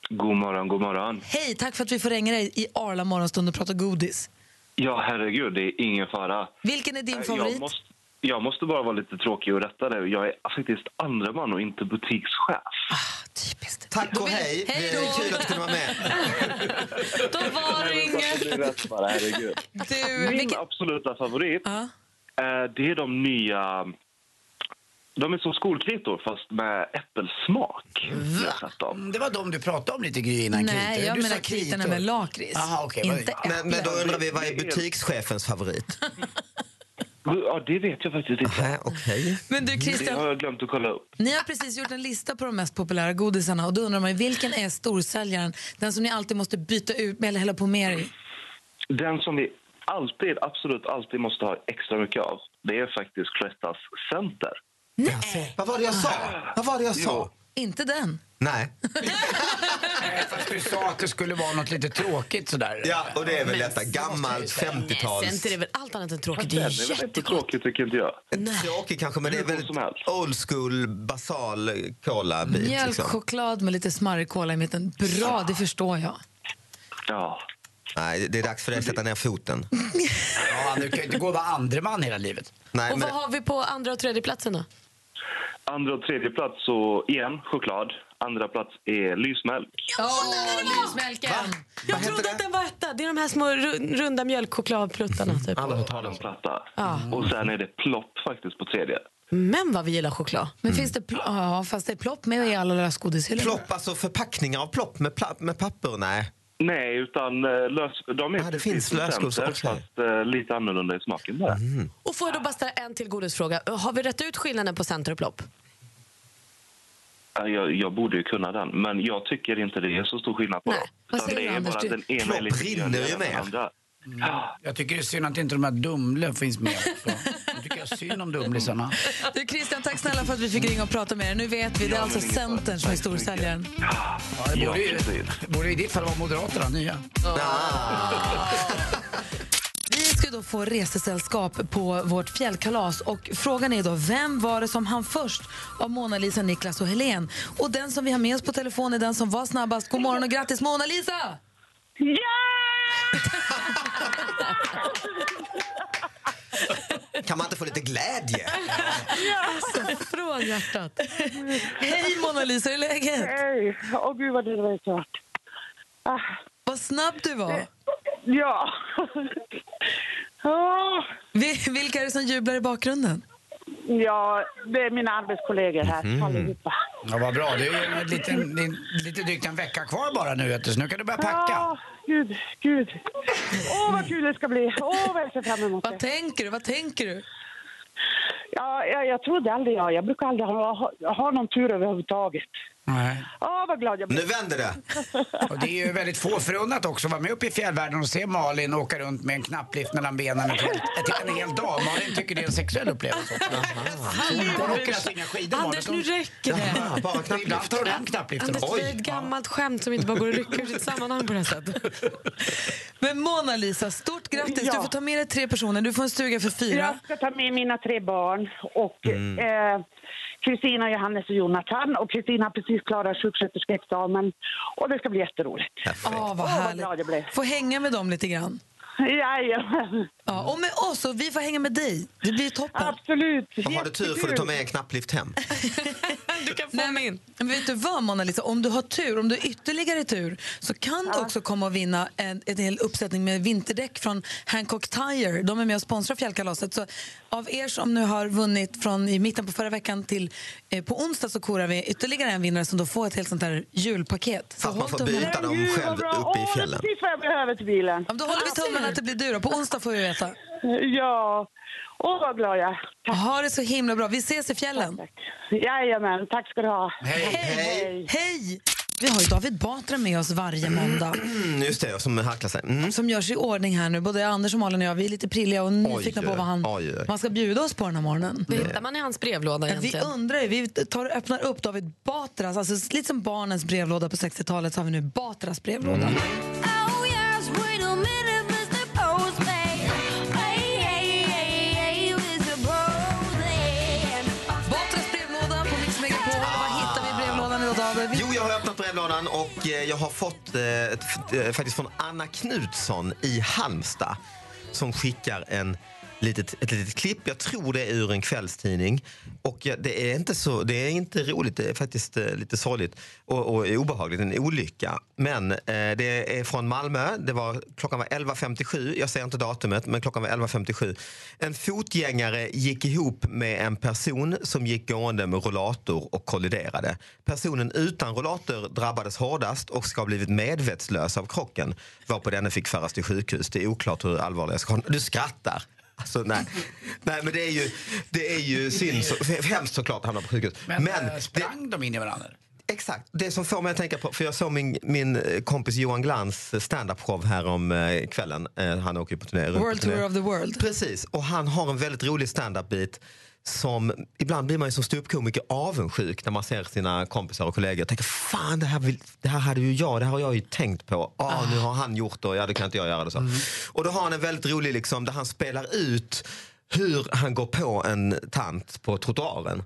God morgon, god morgon. Hej, tack för att vi får ringa dig i Arla morgonstund och prata godis. Ja, herregud, det är ingen fara. Vilken är din Eh, favorit? Jag måste, jag måste bara vara lite tråkig och rätta dig. Jag är faktiskt andra man och inte butikschef. Tack och hej. hej Det är då. kul att du kunde vara med. Då var det Det är rätt bara, herregud. Du, Min absoluta favorit, eh, det är de nya... De är som skolkritor, fast med äppelsmak. Jag har sett dem. Det var de du pratade om lite Gry innan Nej, kritor. jag Du sa menar kritorna kritor. med lakrits. Aha, okej, vad- Inte Men, men då äpplen. undrar vi, vad är butikschefens favorit? Ja, det vet jag faktiskt Ah, inte. Okej. Men du, Det Christian- har jag glömt att kolla upp. Ni har precis gjort en lista på de mest populära godisarna och då undrar man ju, vilken är storsäljaren? Den som ni alltid måste byta ut med eller hälla på mer i? Den som vi alltid, absolut alltid måste ha extra mycket av, det är faktiskt Cloettas Center. Nej. Vad var det jag sa? Vad var det jag sa? Inte den. Nej. Fast du sa att det skulle vara något lite tråkigt sådär. Ja, och det är väl Men- detta gammalt 50-tals... Nej, Center är väl allt annat än tråkigt. Det Den är är väl inte jättegott. tråkig, tycker inte jag. Tråkig kanske, men det är väldigt old school, liksom. basal colabit. Mjölk, choklad med lite smarrig cola i mitten. Bra, det förstår jag. Ja. Nej, det är dags för dig att sätta ner foten. Ja, du kan ju inte gå och vara andre man hela livet. Nej, Och vad har vi på andra och tredje platsen då? Andra och tredje plats, så igen, choklad. Andra plats är lysmjölk. Åh, lysmjölken! Jag trodde att den var etta. Det är de här små ru- runda mjölkchokladpluttarna. Typ. Alla har talat platta. Ja. Och sen är det plopp faktiskt på tredje. Men vad vi gillar choklad. Men finns det pl- ja, fast det är plopp med i alla lösgodishyllor. Plopp, alltså förpackningar av plopp med, pla- med papper? Nej. Nej, utan eh, lös, de är ah, det finns lösgodis också. Mm. fast eh, lite annorlunda i smaken bara. Och får jag då bara ställa en till godisfråga. Har vi rätt ut skillnaden på center och plopp? Ja, Jag, jag borde ju kunna den, men jag tycker inte det är så stor skillnad på dem. Vad Utan säger det du, är Anders? bara Du- den ena är lite dyrare än den andra. Jag tycker det är synd att inte de här Dumle finns med. också. Jag tycker jag synd om Dumlisarna. Du Christian, tack snälla för att vi fick ringa och prata med dig. Nu vet vi, det är Ja, alltså men ingen fara. Centern som är storsäljaren. Ja, det borde, ju, borde i ditt fall vara Moderaterna, nya. Vi ska då få resesällskap på vårt fjällkalas och frågan är då vem var det som hann först av Mona Lisa, Niklas och Helen? Och den som vi har med oss på telefon är den som var snabbast. God morgon och grattis Mona Lisa! Kan man inte få lite glädje? Så från hjärtat. Hej Mona Lisa, hur är läget? Hej! Åh gud vad det var klart. Vad snabb du var. Ja. Vi- Vilka är det som jublar i bakgrunden? Ja, det är mina arbetskollegor här Mhm. allihopa. Ja, vad bra. Det är ju en liten, det är lite drygt en vecka kvar bara nu, vet du, så nu kan du börja packa. Ja, gud, gud. Åh vad kul det ska bli. Åh vad jag ser fram emot det. Vad tänker du? Vad tänker du? Ja, jag, jag trodde aldrig jag. Jag brukar aldrig ha, ha, ha någon tur överhuvudtaget. Nej. Åh vad glad jag blir. Nu vänder det. Och det är ju väldigt få förunnat också att vara med uppe i fjällvärlden och se Malin åka runt med en knapplift mellan benen ett helt, ett, en hel dag. Malin tycker det är en sexuell upplevelse också. Hon åker alltså inga skidor Anders, nu räcker det. Jaha, bara knapplift. Ibland tar hon knappliften. Anders, det är ett gammalt skämt som inte bara går att rycka ur sitt sammanhang på det här sättet. Men Mona Lisa, stort grattis. Ja. Du får ta med dig tre personer. Du får en stuga för fyra. Jag ska ta med mina tre barn och Mm. eh, Kristina, Johannes och Jonathan. Och Kristina har precis klarat sjuksköterskeexamen och det ska bli jätteroligt. Åh, vad härligt. Få hänga med dem lite grann. Jajamän. Ja, och med oss, och vi får hänga med dig. Det blir toppen. Absolut. Om har du tur får du ta med en knapplift hem. Du kan få Nej, men, men vet du vad, Mona Lisa? Om du har tur, om du har ytterligare tur så kan du också komma och vinna en, en hel uppsättning med vinterdäck från Hancock Tire. De är med och sponsrar fjällkalaset. Så av er som nu har vunnit från i mitten på förra veckan till eh, på onsdag så korar vi ytterligare en vinnare som då får ett helt sånt här julpaket. Så Fast man håll får tummarna. byta dem själv uppe i fjällen. Precis vad jag behöver till bilen. Då håller vi tummarna att det blir du då. På onsdag får vi veta. Ja. Åh, vad glad jag är. Ha det så himla bra. Vi ses i fjällen. Jajamän, tack ska du ha. Hej! Hej! Vi har ju David Batra med oss varje måndag. Mm, just det, som harklar sig. Mm. Som gör sig i ordning här nu. Både Anders och Malin och jag, vi är lite prilliga och nyfikna på vad han oj, Mm. oj. man ska bjuda oss på den här morgonen. Vad hittar man i hans brevlåda Ja, Vi egentligen? undrar ju, vi tar, öppnar upp David Batras, alltså lite som barnens brevlåda på 60-talet så har vi nu Batras brevlåda. Mm. Batras brevlåda på Mix Megapol. Vad hittar vi i brevlådan idag David? Jo, jag har öppnat brevlådan och eh, jag har fått eh, ett f- eh, faktiskt från Anna Knutsson i Halmstad som skickar en litet, ett litet klipp. Jag tror det är ur en kvällstidning. Och ja, det, är inte så, det är inte roligt, det är faktiskt eh, lite sorgligt och, och obehagligt, en olycka. Men eh, det är från Malmö, det var, klockan var 11.57, jag säger inte datumet, men klockan var 11.57. En fotgängare gick ihop med en person som gick gående med rollator och kolliderade. Personen utan rollator drabbades hårdast och ska ha blivit medvetslös av krocken varpå denne fick föras till sjukhus. Det är oklart hur allvarliga skadorna... Du skrattar! Alltså, nej. nej, men det är ju, det är ju synd. Så, hemskt såklart att hamna på sjukhus. Men, eh, sprang de in i varandra? Exakt. Det som får mig att tänka på, för jag såg min, min eh, kompis Johan Glans standup-show här om eh, kvällen. Eh, Han åker ju på turné. runt på World turné. Tour of the World. Precis, och han har en väldigt rolig standup-bit som ibland blir man ju som ståuppkomiker avundsjuk när man ser sina kompisar och kollegor. Jag tänker fan det här, vill, det här hade ju jag, det här har jag ju tänkt på. Ah, nu har han gjort det och ja, det kan inte jag göra. Det, så. Mm. Och då har han en väldigt rolig liksom, där han spelar ut hur han går på en tant på trottoaren.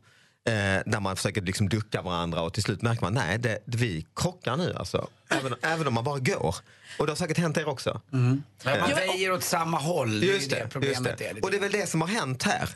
Eh, där man försöker liksom ducka varandra och till slut märker man nej, det, vi krockar nu alltså. Även, även om man bara går. Och det har säkert hänt er också. Men man Eh, väjer åt samma håll. Det är ju det problemet är. Och det är väl det som har hänt här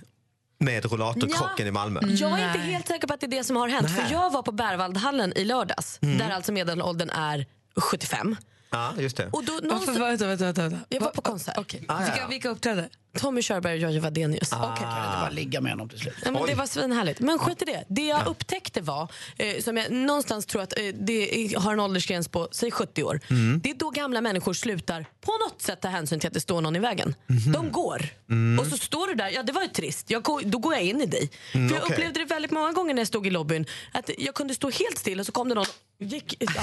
med rollatorkrocken i Malmö. Jag är inte helt säker på att det är det som har hänt. Nej. För Jag var på Berwaldhallen i lördags, Mm. där alltså medelåldern är 75. Ja, just det. Och då, Varför- någonstans... Ah, vänta, vänta, vänta. Jag var på konsert. vilka, vilka uppträdde? Tommy Körberg och Jojje Wadenius. Kan du bara ligga med honom till slut? Nej, men det var svinhärligt. Men skit i det. Det jag upptäckte var, eh, som jag någonstans tror att eh, det har en åldersgräns på, säg 70 år. Mm. Det är då gamla människor slutar på något sätt ta hänsyn till att det står någon i vägen. Mhm. De går. Mm. Och så står du där, ja det var ju trist, jag, går- då går jag in i dig. Mm, För jag okej. upplevde det väldigt många gånger när jag stod i lobbyn, att jag kunde stå helt still och så kom det någon Gick, jaha,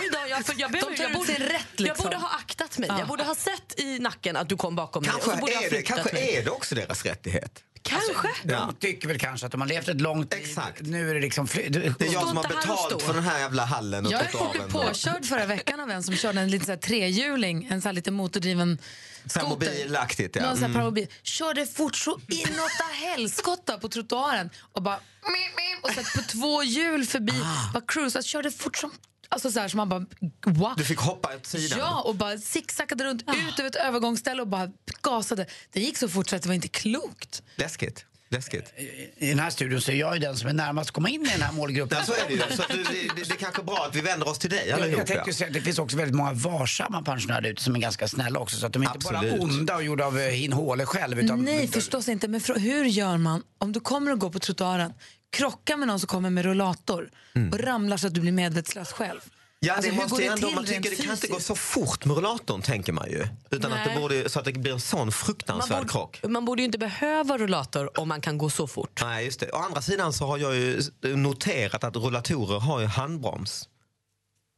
oj då, jag, för jag, De behöver, tar jag, ut borde, sig rätt, jag liksom. borde ha aktat mig. Ja. Jag borde ha sett i nacken att du kom bakom mig. Kanske, Och så borde jag ha är det, flyttat kanske mig. är det också deras rättighet. Kanske. De tycker väl kanske att de har levt ett långt liv. Exakt. Nu är det liksom... Fly- Det är jag som har betalt för den här jävla hallen och Jag blev trottoaren. påkörd förra veckan av en som körde en liten så här trehjuling, en så här lite motordriven skoter. Permobilaktigt, ja. Någon sån här Mm. permobil. Körde fort så inåtta helskotta på trottoaren och bara mip, mip, och så på två hjul förbi, Ah. bara cruisade, körde fort som Alltså så här som man bara, wow. Du fick hoppa åt sidan. Ah. Ja, och bara zigzackade runt ut över ett övergångsställe och bara gasade. Det gick så fort så att det var inte klokt. Läskigt. Läskigt. I den här studion så är jag ju den som är närmast att komma in i den här målgruppen. Ja, så är det ju. Så att du- det, det, det är kanske är bra att vi vänder oss till dig Jag, allihop. jag tänkte ju säga att det finns också väldigt många varsamma pensionärer ute som är ganska snälla också. Så att de är inte bara Absolut. onda och gjorda av eh, hin håle själv. Utan Nej, förstås inte. Men frå- hur gör man om du kommer att gå på trottoaren, krockar med någon som kommer med rullator och ramlar så att du blir medvetslös själv? Mm. Ja, Alltså, det hur går måste det ju ändå, till man tycker rent det kan inte gå fysiskt? så fort med rullatorn tänker man ju. Utan att Nej. det borde, så att det blir en sån fruktansvärd Man krock. borde, man borde ju inte behöva rullator om man kan gå så fort. Nej, just det. Å andra sidan så har jag ju noterat att rullatorer har ju handbroms.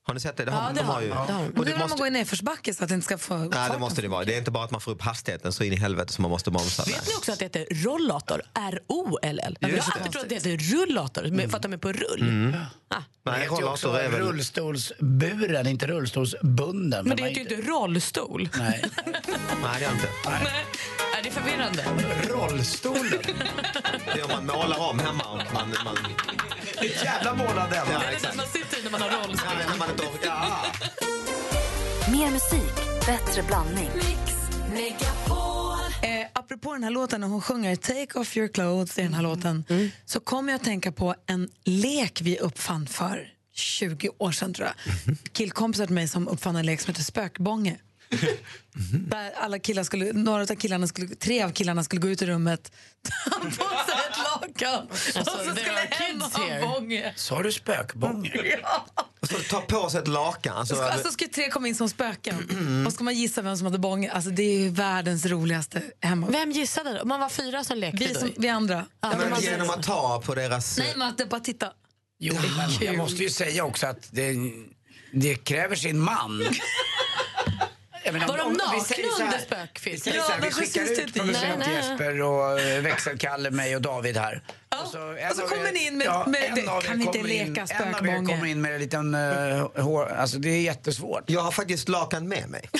Har ni sett det? Ja, det har ju. man. Det har man. Och Men det vill man måste, gå i nedförsbacke så att det inte ska få nej, det fart. måste det vara. Det är inte bara att man får upp hastigheten så in i helvete som man måste bromsa. Nej. Vet ni också att det heter rollator? R-O-L-L. Jag har Just det. alltid trott att det heter rullator med- för att de är på rull. Mm. Ah. Det Nej, heter ju också rullator är väl... rullstolsburen, inte rullstolsbunden. Men det heter ju inte rollstol. Nej. Nej, det är inte. Är det är förvirrande? Rollstolen. Det är om man målar om hemma. och Man, man... Jävla målad den det är den man sitter i när man har rollstol. när man inte orkar. Ja. Mer musik, bättre blandning. Eh, apropå den här låten, när hon sjunger Take off your clothes i den här låten Mm. så kommer jag att tänka på en lek vi uppfann för 20 år sedan, tror jag. Mm-hmm. Killkompisar till mig som uppfann en lek som heter spökbånge. Mm-hmm. Där alla killar skulle, några av killarna skulle, tre av killarna skulle gå ut i rummet, ta på sig ett lakan Alltså, och så skulle en ha bånge. Sa du spökbånge? Så ta på sig ett lakan. Alltså, Så ska, alltså skulle tre komma in som spöken Mm-hmm. och ska man gissa vem som hade bånge. Alltså det är ju världens roligaste hemma. Vem gissade då? Man var fyra som lekte Vi, då. som, vi andra. Ja, men genom att ta på deras... Nej, men att det bara titta. Jo, men jag måste ju säga också att det, det kräver sin man. Jag menar, Var de vi nakna säger så här- under spökfilmen? Vi, säger så här, vi skickar ut producent Nej, nej. Jesper och eh, växelkalle, mig och David här. Och så, en och så av kommer er- ni in med- med- en det- av er kan vi inte kommer in- leka En av er spökbånge? kommer in med en liten eh, hår, alltså det är jättesvårt. Jag har faktiskt lakan med mig.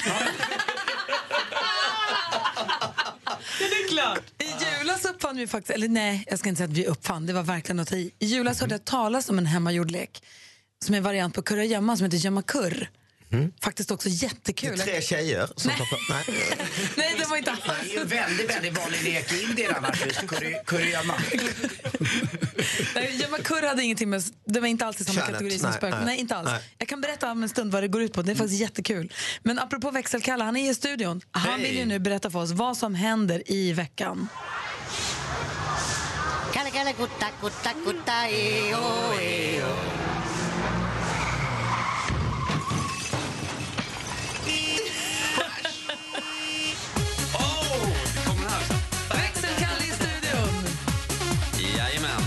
Det är klart. I julas uppfann vi faktiskt, eller nej, jag ska inte säga att vi uppfann, det var verkligen att ta i. I julas hörde jag talas om en hemmagjord lek som är en variant på kurragömma som heter gömmakurr. Faktiskt också Det är jättekul. tre tjejer som tar på... Nej. Nej, det var inte alls. Det är ju en väldigt, väldigt vanlig lek i Indien annars, just kurri- kurragömma. Nej, Gömmakurr hade ingenting med, det var inte alls i samma Könet, kategori som nej, spöken. nej, Nej, inte alls. nej. Jag kan berätta om en stund vad det går ut på, det är faktiskt jättekul. Men apropå växelkalle, han är i studion. Han Hej. vill ju nu berätta för oss vad som händer i veckan. Kalle, kalle, gutta, gutta, gutta, eo, eo. Växelkalle i studion! Jajamän.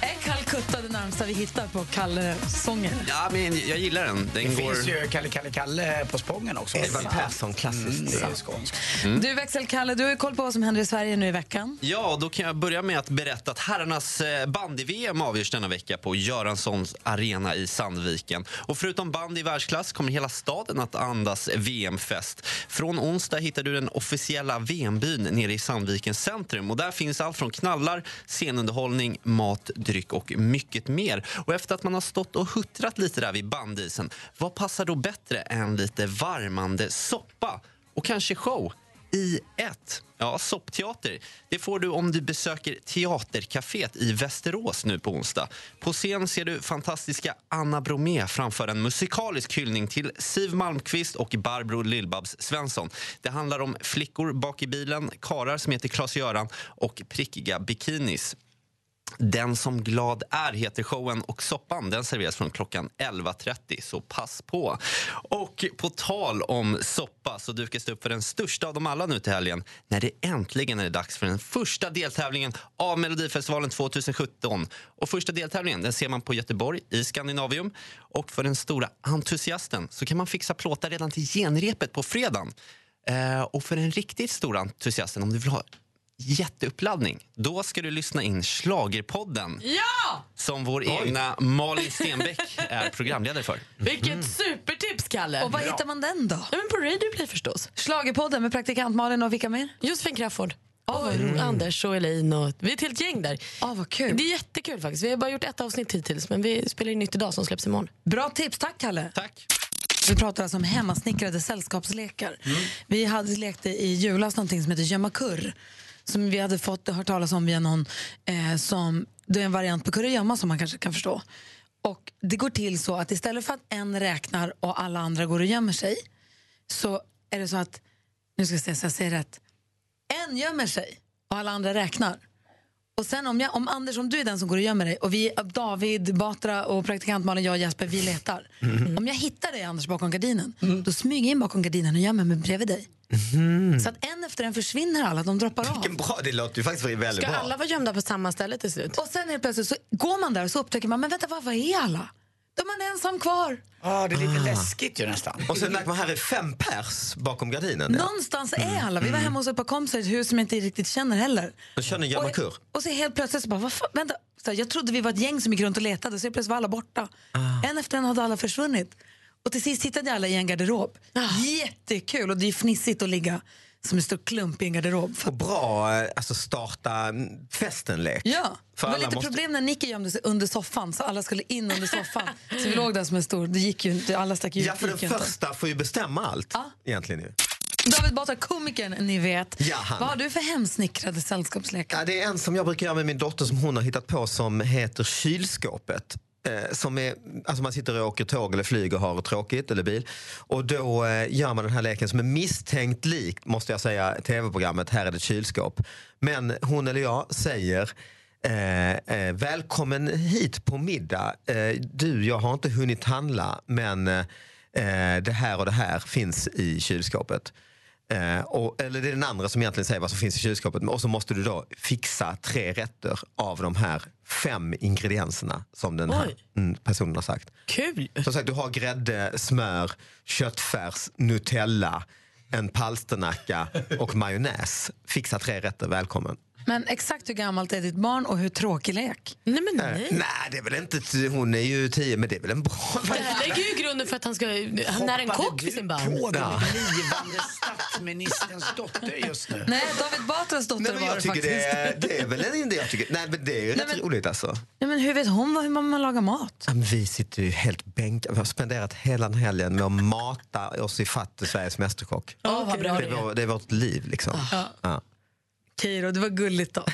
Är Calcutta det närmsta vi hittar på Kalle-sången? Ja, men jag gillar den. Det den går... finns ju Kalle Kalle Kalle på Spången också. Edvard Persson, klassiskt. Mm, det är skånskt. Mm. Du, växelkalle, du har ju koll på vad som händer i Sverige nu i veckan. Ja, då kan jag börja med att berätta att herrarnas eh, bandy-VM avgörs denna vecka på Göranssons arena i Sandviken. Och förutom bandy i världsklass kommer hela staden att andas VM-fest. Från onsdag hittar du den officiella VM-byn nere i Sandvikens centrum. Och där finns allt från knallar, scenunderhållning, mat, dryck och mycket mer. Och efter att man har stått och huttrat lite där vid bandisen, vad passar då bättre än lite varmande soppa och kanske show? i ett. Ja, soppteater. Det får du om du besöker Teatercaféet i Västerås nu på onsdag. På scen ser du fantastiska Anna Bromé framföra en musikalisk hyllning till Siv Malmqvist och Barbro Lill-Babs Svensson. Det handlar om flickor bak i bilen, karar som heter Klas-Göran och prickiga bikinis. Den som glad är heter showen och soppan den serveras från klockan 11.30, så pass på. Och på tal om soppa så dukas det upp för den största av dem alla nu till helgen när det äntligen är dags för den första deltävlingen av Melodifestivalen 2017. Och första deltävlingen den ser man på Göteborg i Skandinavium. Och för den stora entusiasten så kan man fixa plåtar redan till genrepet på fredagen. Eh, och för den riktigt stora entusiasten, om du vill ha jätteuppladdning, då ska du lyssna in Schlagerpodden Ja! som vår Oj. egna Malin Stenbeck är programledare för. Vilket supertips, Kalle! Och var hittar man den då? Ja, men på Radioplay förstås. Schlagerpodden med praktikant Malin och vilka mer? Josefin Crafoord. Och Anders och Elin. Och, vi är ett helt gäng där. Ja, vad kul. Det är jättekul faktiskt. Vi har bara gjort ett avsnitt hittills men vi spelar in nytt idag som släpps imorgon. Bra tips, tack Kalle. Tack. Vi pratar alltså om hemmasnickrade sällskapslekar. Vi hade lekte i julas någonting som heter gömma kurr. Som vi hade fått hört talas om via någon eh, som, det är en variant på kurragömma som man kanske kan förstå. Och det går till så att istället för att en räknar och alla andra går och gömmer sig så är det så att, nu ska jag se så jag säger rätt, en gömmer sig och alla andra räknar. Och sen om, jag, om Anders, om du är den som går och gömmer dig och vi, David, Batra och praktikant Malin, jag och Jesper, vi letar. Mm. Om jag hittar dig Anders bakom gardinen, då smyger jag in bakom gardinen och gömmer mig bredvid dig. Så att en efter en försvinner alla, de droppar av. Mm. Bra, det låter ju faktiskt väldigt Ska bra. alla vara gömda på samma ställe till slut? Och sen helt plötsligt så går man där och så upptäcker man, men vänta, var, var är alla? Då är man ensam kvar. ah, det är lite Ah. läskigt ju nästan. Och sen märker man här är fem pers bakom gardinen. ja. Mm. Någonstans är alla. Vi var hemma hos ett par kompisar i ett hus som jag inte riktigt känner heller. Då kör ni gömmakur. Och så helt plötsligt så bara, vad fan, vänta. Så här, jag trodde vi var ett gäng som gick runt och letade, så helt plötsligt var alla borta. Ah. En efter en hade alla försvunnit. Och till sist hittade jag alla i en garderob. Ah. Jättekul och det är fnissigt att ligga som en stor klump i en garderob. För Och bra eh, alltså starta mm, festen-lek. Ja, För det var alla lite måste- problem när Nicky gömde sig under soffan så alla skulle in under soffan. så vi låg där som en stor, det gick ju inte, alla stack ju Ja, för den gick ju inte. första får ju bestämma allt. Ja. Egentligen ju. David Batra, komikern ni vet. Ja, han. Vad har du för hemsnickrade sällskapslekar? Ja, det är en som jag brukar göra med min dotter som hon har hittat på som heter kylskåpet. Eh, Som är, alltså man sitter och åker tåg eller flyg och har tråkigt eller bil. Och då eh, gör man den här leken som är misstänkt lik, måste jag säga, tv-programmet Här är det ett kylskåp. Men hon eller jag säger Eh, eh, välkommen hit på middag. Eh, du, jag har inte hunnit handla men eh, eh, det här och det här finns i kylskåpet. Eh, och, eller det är den andra som egentligen säger vad som finns i kylskåpet. Och så måste du då fixa tre rätter av de här fem ingredienserna som den här Oj. mm, personen har sagt. Kul! Som sagt, du har grädde, smör, köttfärs, nutella, en palsternacka och majonnäs. Fixa tre rätter, välkommen. Men exakt hur gammalt är ditt barn och hur tråkig lek? Nej, men Eh, nej. Nej, det är väl inte... t- Hon är ju tio, men det är väl en bra... Det här lägger ju grunden för att han ska... Han är en kock för sin barn. På den Ja. blivande statsministerns dotter just nu. Nej, David Batras dotter Nej, men var jag det tycker faktiskt. det är, det är väl en idé. Jag tycker, nej, men det är ju rätt men- roligt alltså. Nej, men hur vet hon vad- hur man lagar mat? Ja, men Vi sitter ju helt bänkade. Vi har spenderat hela den helgen med att mata oss i fatt Sveriges Mästerkock. Ja, vad bra det, det är är. vår, det är vårt liv liksom. Ja. Ja. Okej då, Ah. det var gulligt då.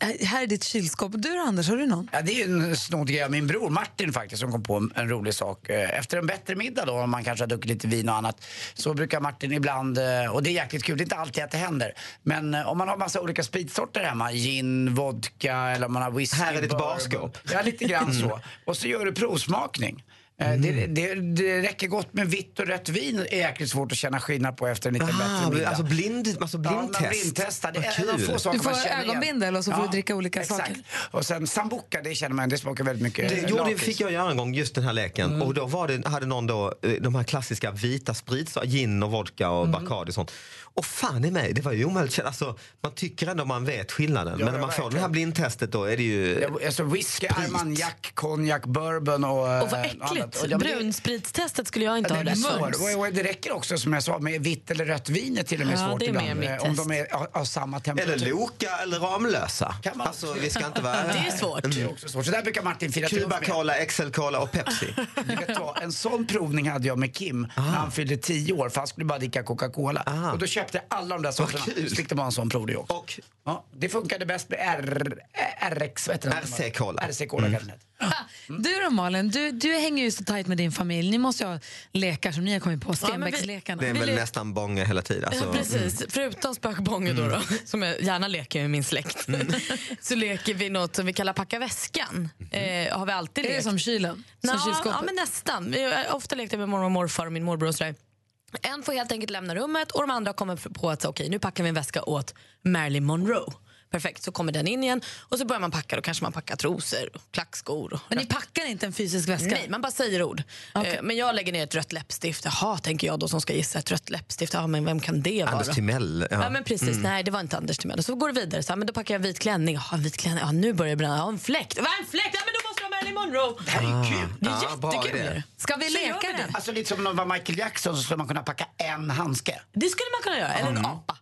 Här- Här är ditt kylskåp. Du då, Anders, har du någon? Ja, det är ju en snodd grej av min bror Martin faktiskt som kom på en, en rolig sak. Eh, Efter en bättre middag då, om man kanske har druckit lite vin och annat, så brukar Martin ibland, eh, och det är jäkligt kul, det är inte alltid att det händer, men eh, om man har massa olika spritsorter hemma, gin, vodka eller om man har whisky. Här är Mm. ditt bourbon. barskåp. Ja, lite grann så. Och så gör du provsmakning. Eh, Mm. Det, det, det räcker gott med vitt och rött vin är jäkligt svårt att känna skillnad på efter en lite bättre middag. alltså blind, alltså blindtest. Ja, man blindtestar. Det Vad är en av kul. få saker Du får man känner igen. ögonbindel och så får du dricka olika exakt. saker. Och sen sambuca, det känner man, det smakar väldigt mycket Det, eh, jo, det lakrits. fick jag göra en gång, just den här leken. Mm. Och då var det, hade någon då eh, de här klassiska vita sprits, gin och vodka och Mm. Bacardi och sånt. Och fan i mig, det var ju omöjligt. Alltså, man tycker ändå man vet skillnaden. Ja, men när ja, man får eh, det verkligen. här blindtestet då är det ju... Ja, Alltså whisky, armagnac, konjak, bourbon och... Och vad äckligt. att- ja, men det- Brunspritstestet skulle jag inte Den ha är rätt för. svår. Och- och Det räcker också som jag sa med vitt eller rött vin är till och med Ja, svårt det är mer ibland. mitt eh, Om test. de är av, av samma temperatur. Eller Loka eller Ramlösa. Kan man Alltså, också- vi ska inte vara... Det är svårt. Det är också svårt. Så där brukar Martin fira triumf Typ. med. Cuba Cola, XL Cola och Pepsi. Du vet vad, en sån provning hade jag med Kim när han fyllde 10 år för han skulle bara dricka Coca-Cola. Och då köpte jag alla de där sorterna. Så fick de ha en sån provning också. Ja, det funkade bäst med R, RX, vad heter RC-Cola. RC-Cola Mm. kanske den heter. Mm. Du då Malin, du, du hänger ju så tajt med din familj. Ni måste ju ha lekar som ni har kommit på, Ja, men vi- Stenbäckslekarna. Det är Vill väl du- nästan bånga hela tiden. Alltså, ja, precis. mm. Förutom spökbånge då, då, som jag gärna leker med min släkt. Mm. så leker vi något som vi kallar packa väskan. Mhm. Eh, har vi alltid Är det lekt. som kylen? Som Nå, kylskåpet? ja, men nästan. Vi har ofta lekt med mormor och morfar och min morbror och sådär. En får helt enkelt lämna rummet och de andra kommer på att så, okej, nu packar vi en väska åt Marilyn Monroe. Perfekt, så kommer den in igen och så börjar man packa. Då kanske man packar trosor, och klackskor. och- Men ni packar inte en fysisk väska? Nej, man bara säger ord. Eh, Men jag lägger ner ett rött läppstift. Jaha, tänker jag då som ska gissa ett rött läppstift. Ja, men vem kan det vara? Anders Timell. Ja. men precis. Mm. Nej, det var inte Anders Timell. Och Så går det vidare. Så här, men då packar jag en vit klänning. Jaha, en vit klänning. Ja, nu börjar det bränna. Ja, en fläkt. Va, en fläkt? Ja, men då måste jag ha Marilyn Monroe. Det här är ju kul. Ah. Det är Ja, bra jättekul. idé. Ska vi leka det? Alltså lite som om de var Michael Jackson så skulle man kunna packa en handske. Det skulle man kunna göra. Eller en apa.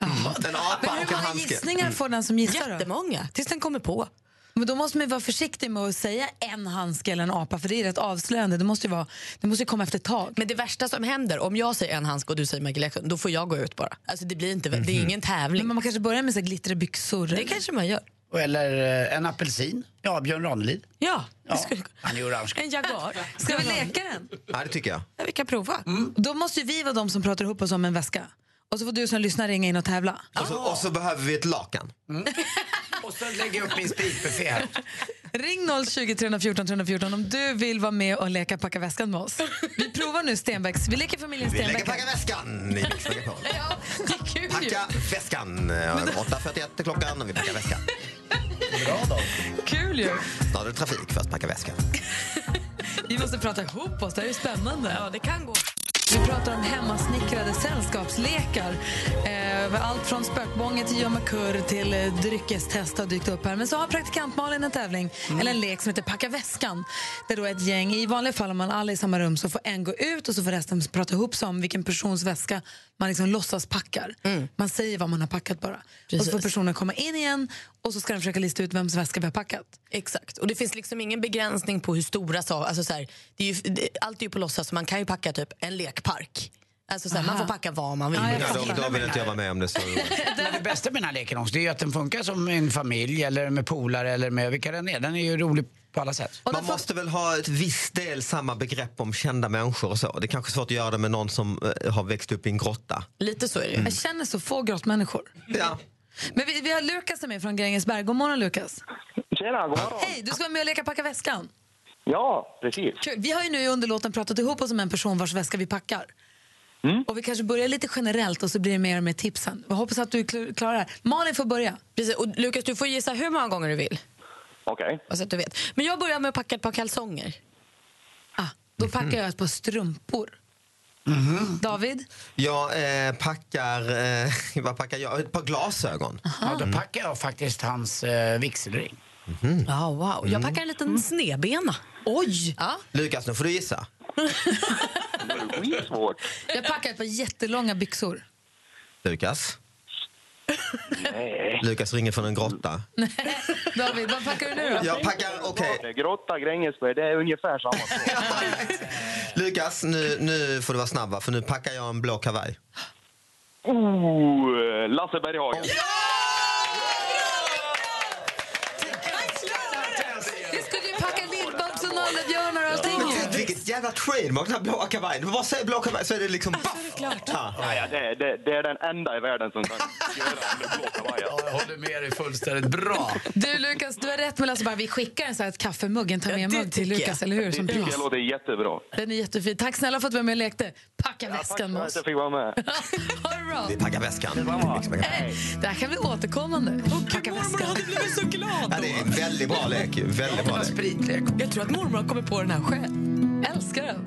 En apa Men hur många gissningar får den som gissar då? Jättemånga, tills den kommer på. Men då måste man ju vara försiktig med att säga en handske eller en apa för det är rätt avslöjande. Det måste ju, vara, det måste ju komma efter ett tag. Men det värsta som händer, om jag säger en handske och du säger Michael Jackson, då får jag gå ut bara. Alltså det blir inte, det är ingen tävling. Men man kanske börjar med så här glitterbyxor. Det kanske man gör. Eller eh, en apelsin. Ja, Björn Ranelid. Ja, Han är orange. en jaguar. Ska vi leka den? Ja, det tycker jag. Ja, vi kan prova. Då måste ju vi vara de som pratar ihop oss om en väska. Och så får du som lyssnar ringa in och tävla. Och, Ah. så, och så behöver vi ett lakan. Mm. Och så lägger jag upp min spritbuffé här. Ring 020 314 314 om du vill vara med och leka packa väskan med oss. Vi provar nu Stenbecks. Vi leker familjen Vi lägger Stenbeck. packa väskan i Mix Megapol. Ja, det är kul ju. Packa väskan. Eh, 8.41 är klockan och vi packar väskan. Bra då. Kul ju. Snart är det trafik för att packa väskan. Vi måste prata ihop oss, det här är ju spännande. Ja, det kan gå. Vi pratar om hemmasnickrade sällskapslekar. Eh, med allt från spökbånge till gömma kurr till eh, dryckestest har dykt upp här. Men så har praktikant Malin en tävling, Mm. eller en lek som heter Packa väskan. Där då ett gäng, i vanliga fall om man alla är i samma rum så får en gå ut och så får resten prata ihop sig om vilken persons väska man liksom låtsas packar. Mm. Man säger vad man har packat bara. Och så får personen komma in igen och så ska den försöka lista ut vems väska vi har packat. Exakt. Och det finns liksom ingen begränsning på hur stora saker... Alltså så här, det är ju, det, allt är ju på låtsas, så man kan ju packa typ en lekpark. Alltså så här, man Aha. får packa vad man vill. Ja, jag Ja, då, då vill inte jag vara med om det. Så. Men det bästa med den här leken också, det är ju att den funkar som en familj eller med polare eller med vilka den är. Den är ju rolig på alla sätt. Man måste väl ha ett visst del samma begrepp om kända människor och så. Det är kanske svårt att göra det med någon som eh, har växt upp i en grotta. Mm. Lite så är det ju. Jag känner så få grottmänniskor. Ja. Men vi, vi har Lukas som är från Grängesberg. God morgon Lukas. Tjena, god morgon. Hej, du ska vara med och leka packa väskan. Ja, precis. Kul. Vi har ju nu i underlåten pratat ihop oss om en person vars väska vi packar. Och vi kanske börjar lite generellt och så blir det mer och mer tips sen. Jag hoppas att du kl- klarar det här. Malin får börja. Precis. Och Lukas, du får gissa hur många gånger du vill. Okej. Bara Så att du vet. Men jag börjar med att packa ett par kalsonger. Ah, Då packar jag ett par strumpor. David? Jag eh, packar, eh, vad packar jag? Ett par glasögon. Ah. Ja, då packar jag faktiskt hans eh, vigselring. Mm. Ja, wow. Jag packar en liten snedbena. Mm. Oj! Ja. Lukas, nu får du gissa. Det är svårt. Jag packar ett par jättelånga byxor. Lukas? Lukas ringer från en grotta. David, vad packar du nu då? Jag packar, okej. Grotta, Grängesberg, det är ungefär samma sak. Lukas, nu, nu får du vara snabb va? för nu packar jag en blå kavaj. Oh, eh, Lasse Berghagen. Jag skulle ju packa lillbabs och nallebjörnar och allting ju. Vilket jävla trademark, den här blåa kavajen. Du bara säger blå kavaj så är det liksom Alltså, baff! Ja. Ja, ja, det, det, det är den enda i världen som kan göra en med blå kavajer. Jag håller med dig fullständigt. Bra! Du Lukas, du har rätt men alltså bara vi skickar en, så här, ett kaffemugg, en ta med-mugg till Lukas, eller hur? Som Det tycker pris. jag låter jättebra. Den är jättefin. Tack snälla för att du var med och lekte. Packa Tack för väskan med att oss. jag fick vara med. Ha det bra. Vi packar väskan. Hej. Det här kan bli återkommande. Mm. Packa väskan. blivit så glad Ja, det är en väldigt bra lek. ju. Väldigt bra lek. Jag tror att mormor kommer på den här själv. Älskar den.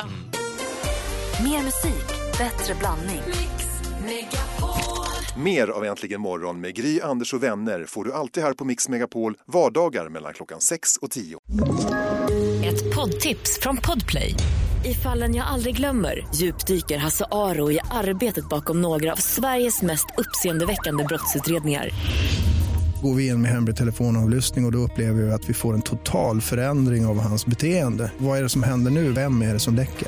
Mer musik, bättre blandning. Mix Megapol. Mer av Äntligen morgon med Gry, Anders och vänner får du alltid här på Mix Megapol vardagar mellan klockan 6 och 10. Ett poddtips från Podplay. I fallen jag aldrig glömmer djupdyker Hasse Aro i arbetet bakom några av Sveriges mest uppseendeväckande brottsutredningar. Går vi in med hemlig telefonavlyssning och, och då upplever vi att vi får en total förändring av hans beteende. Vad är det som händer nu? Vem är det som läcker?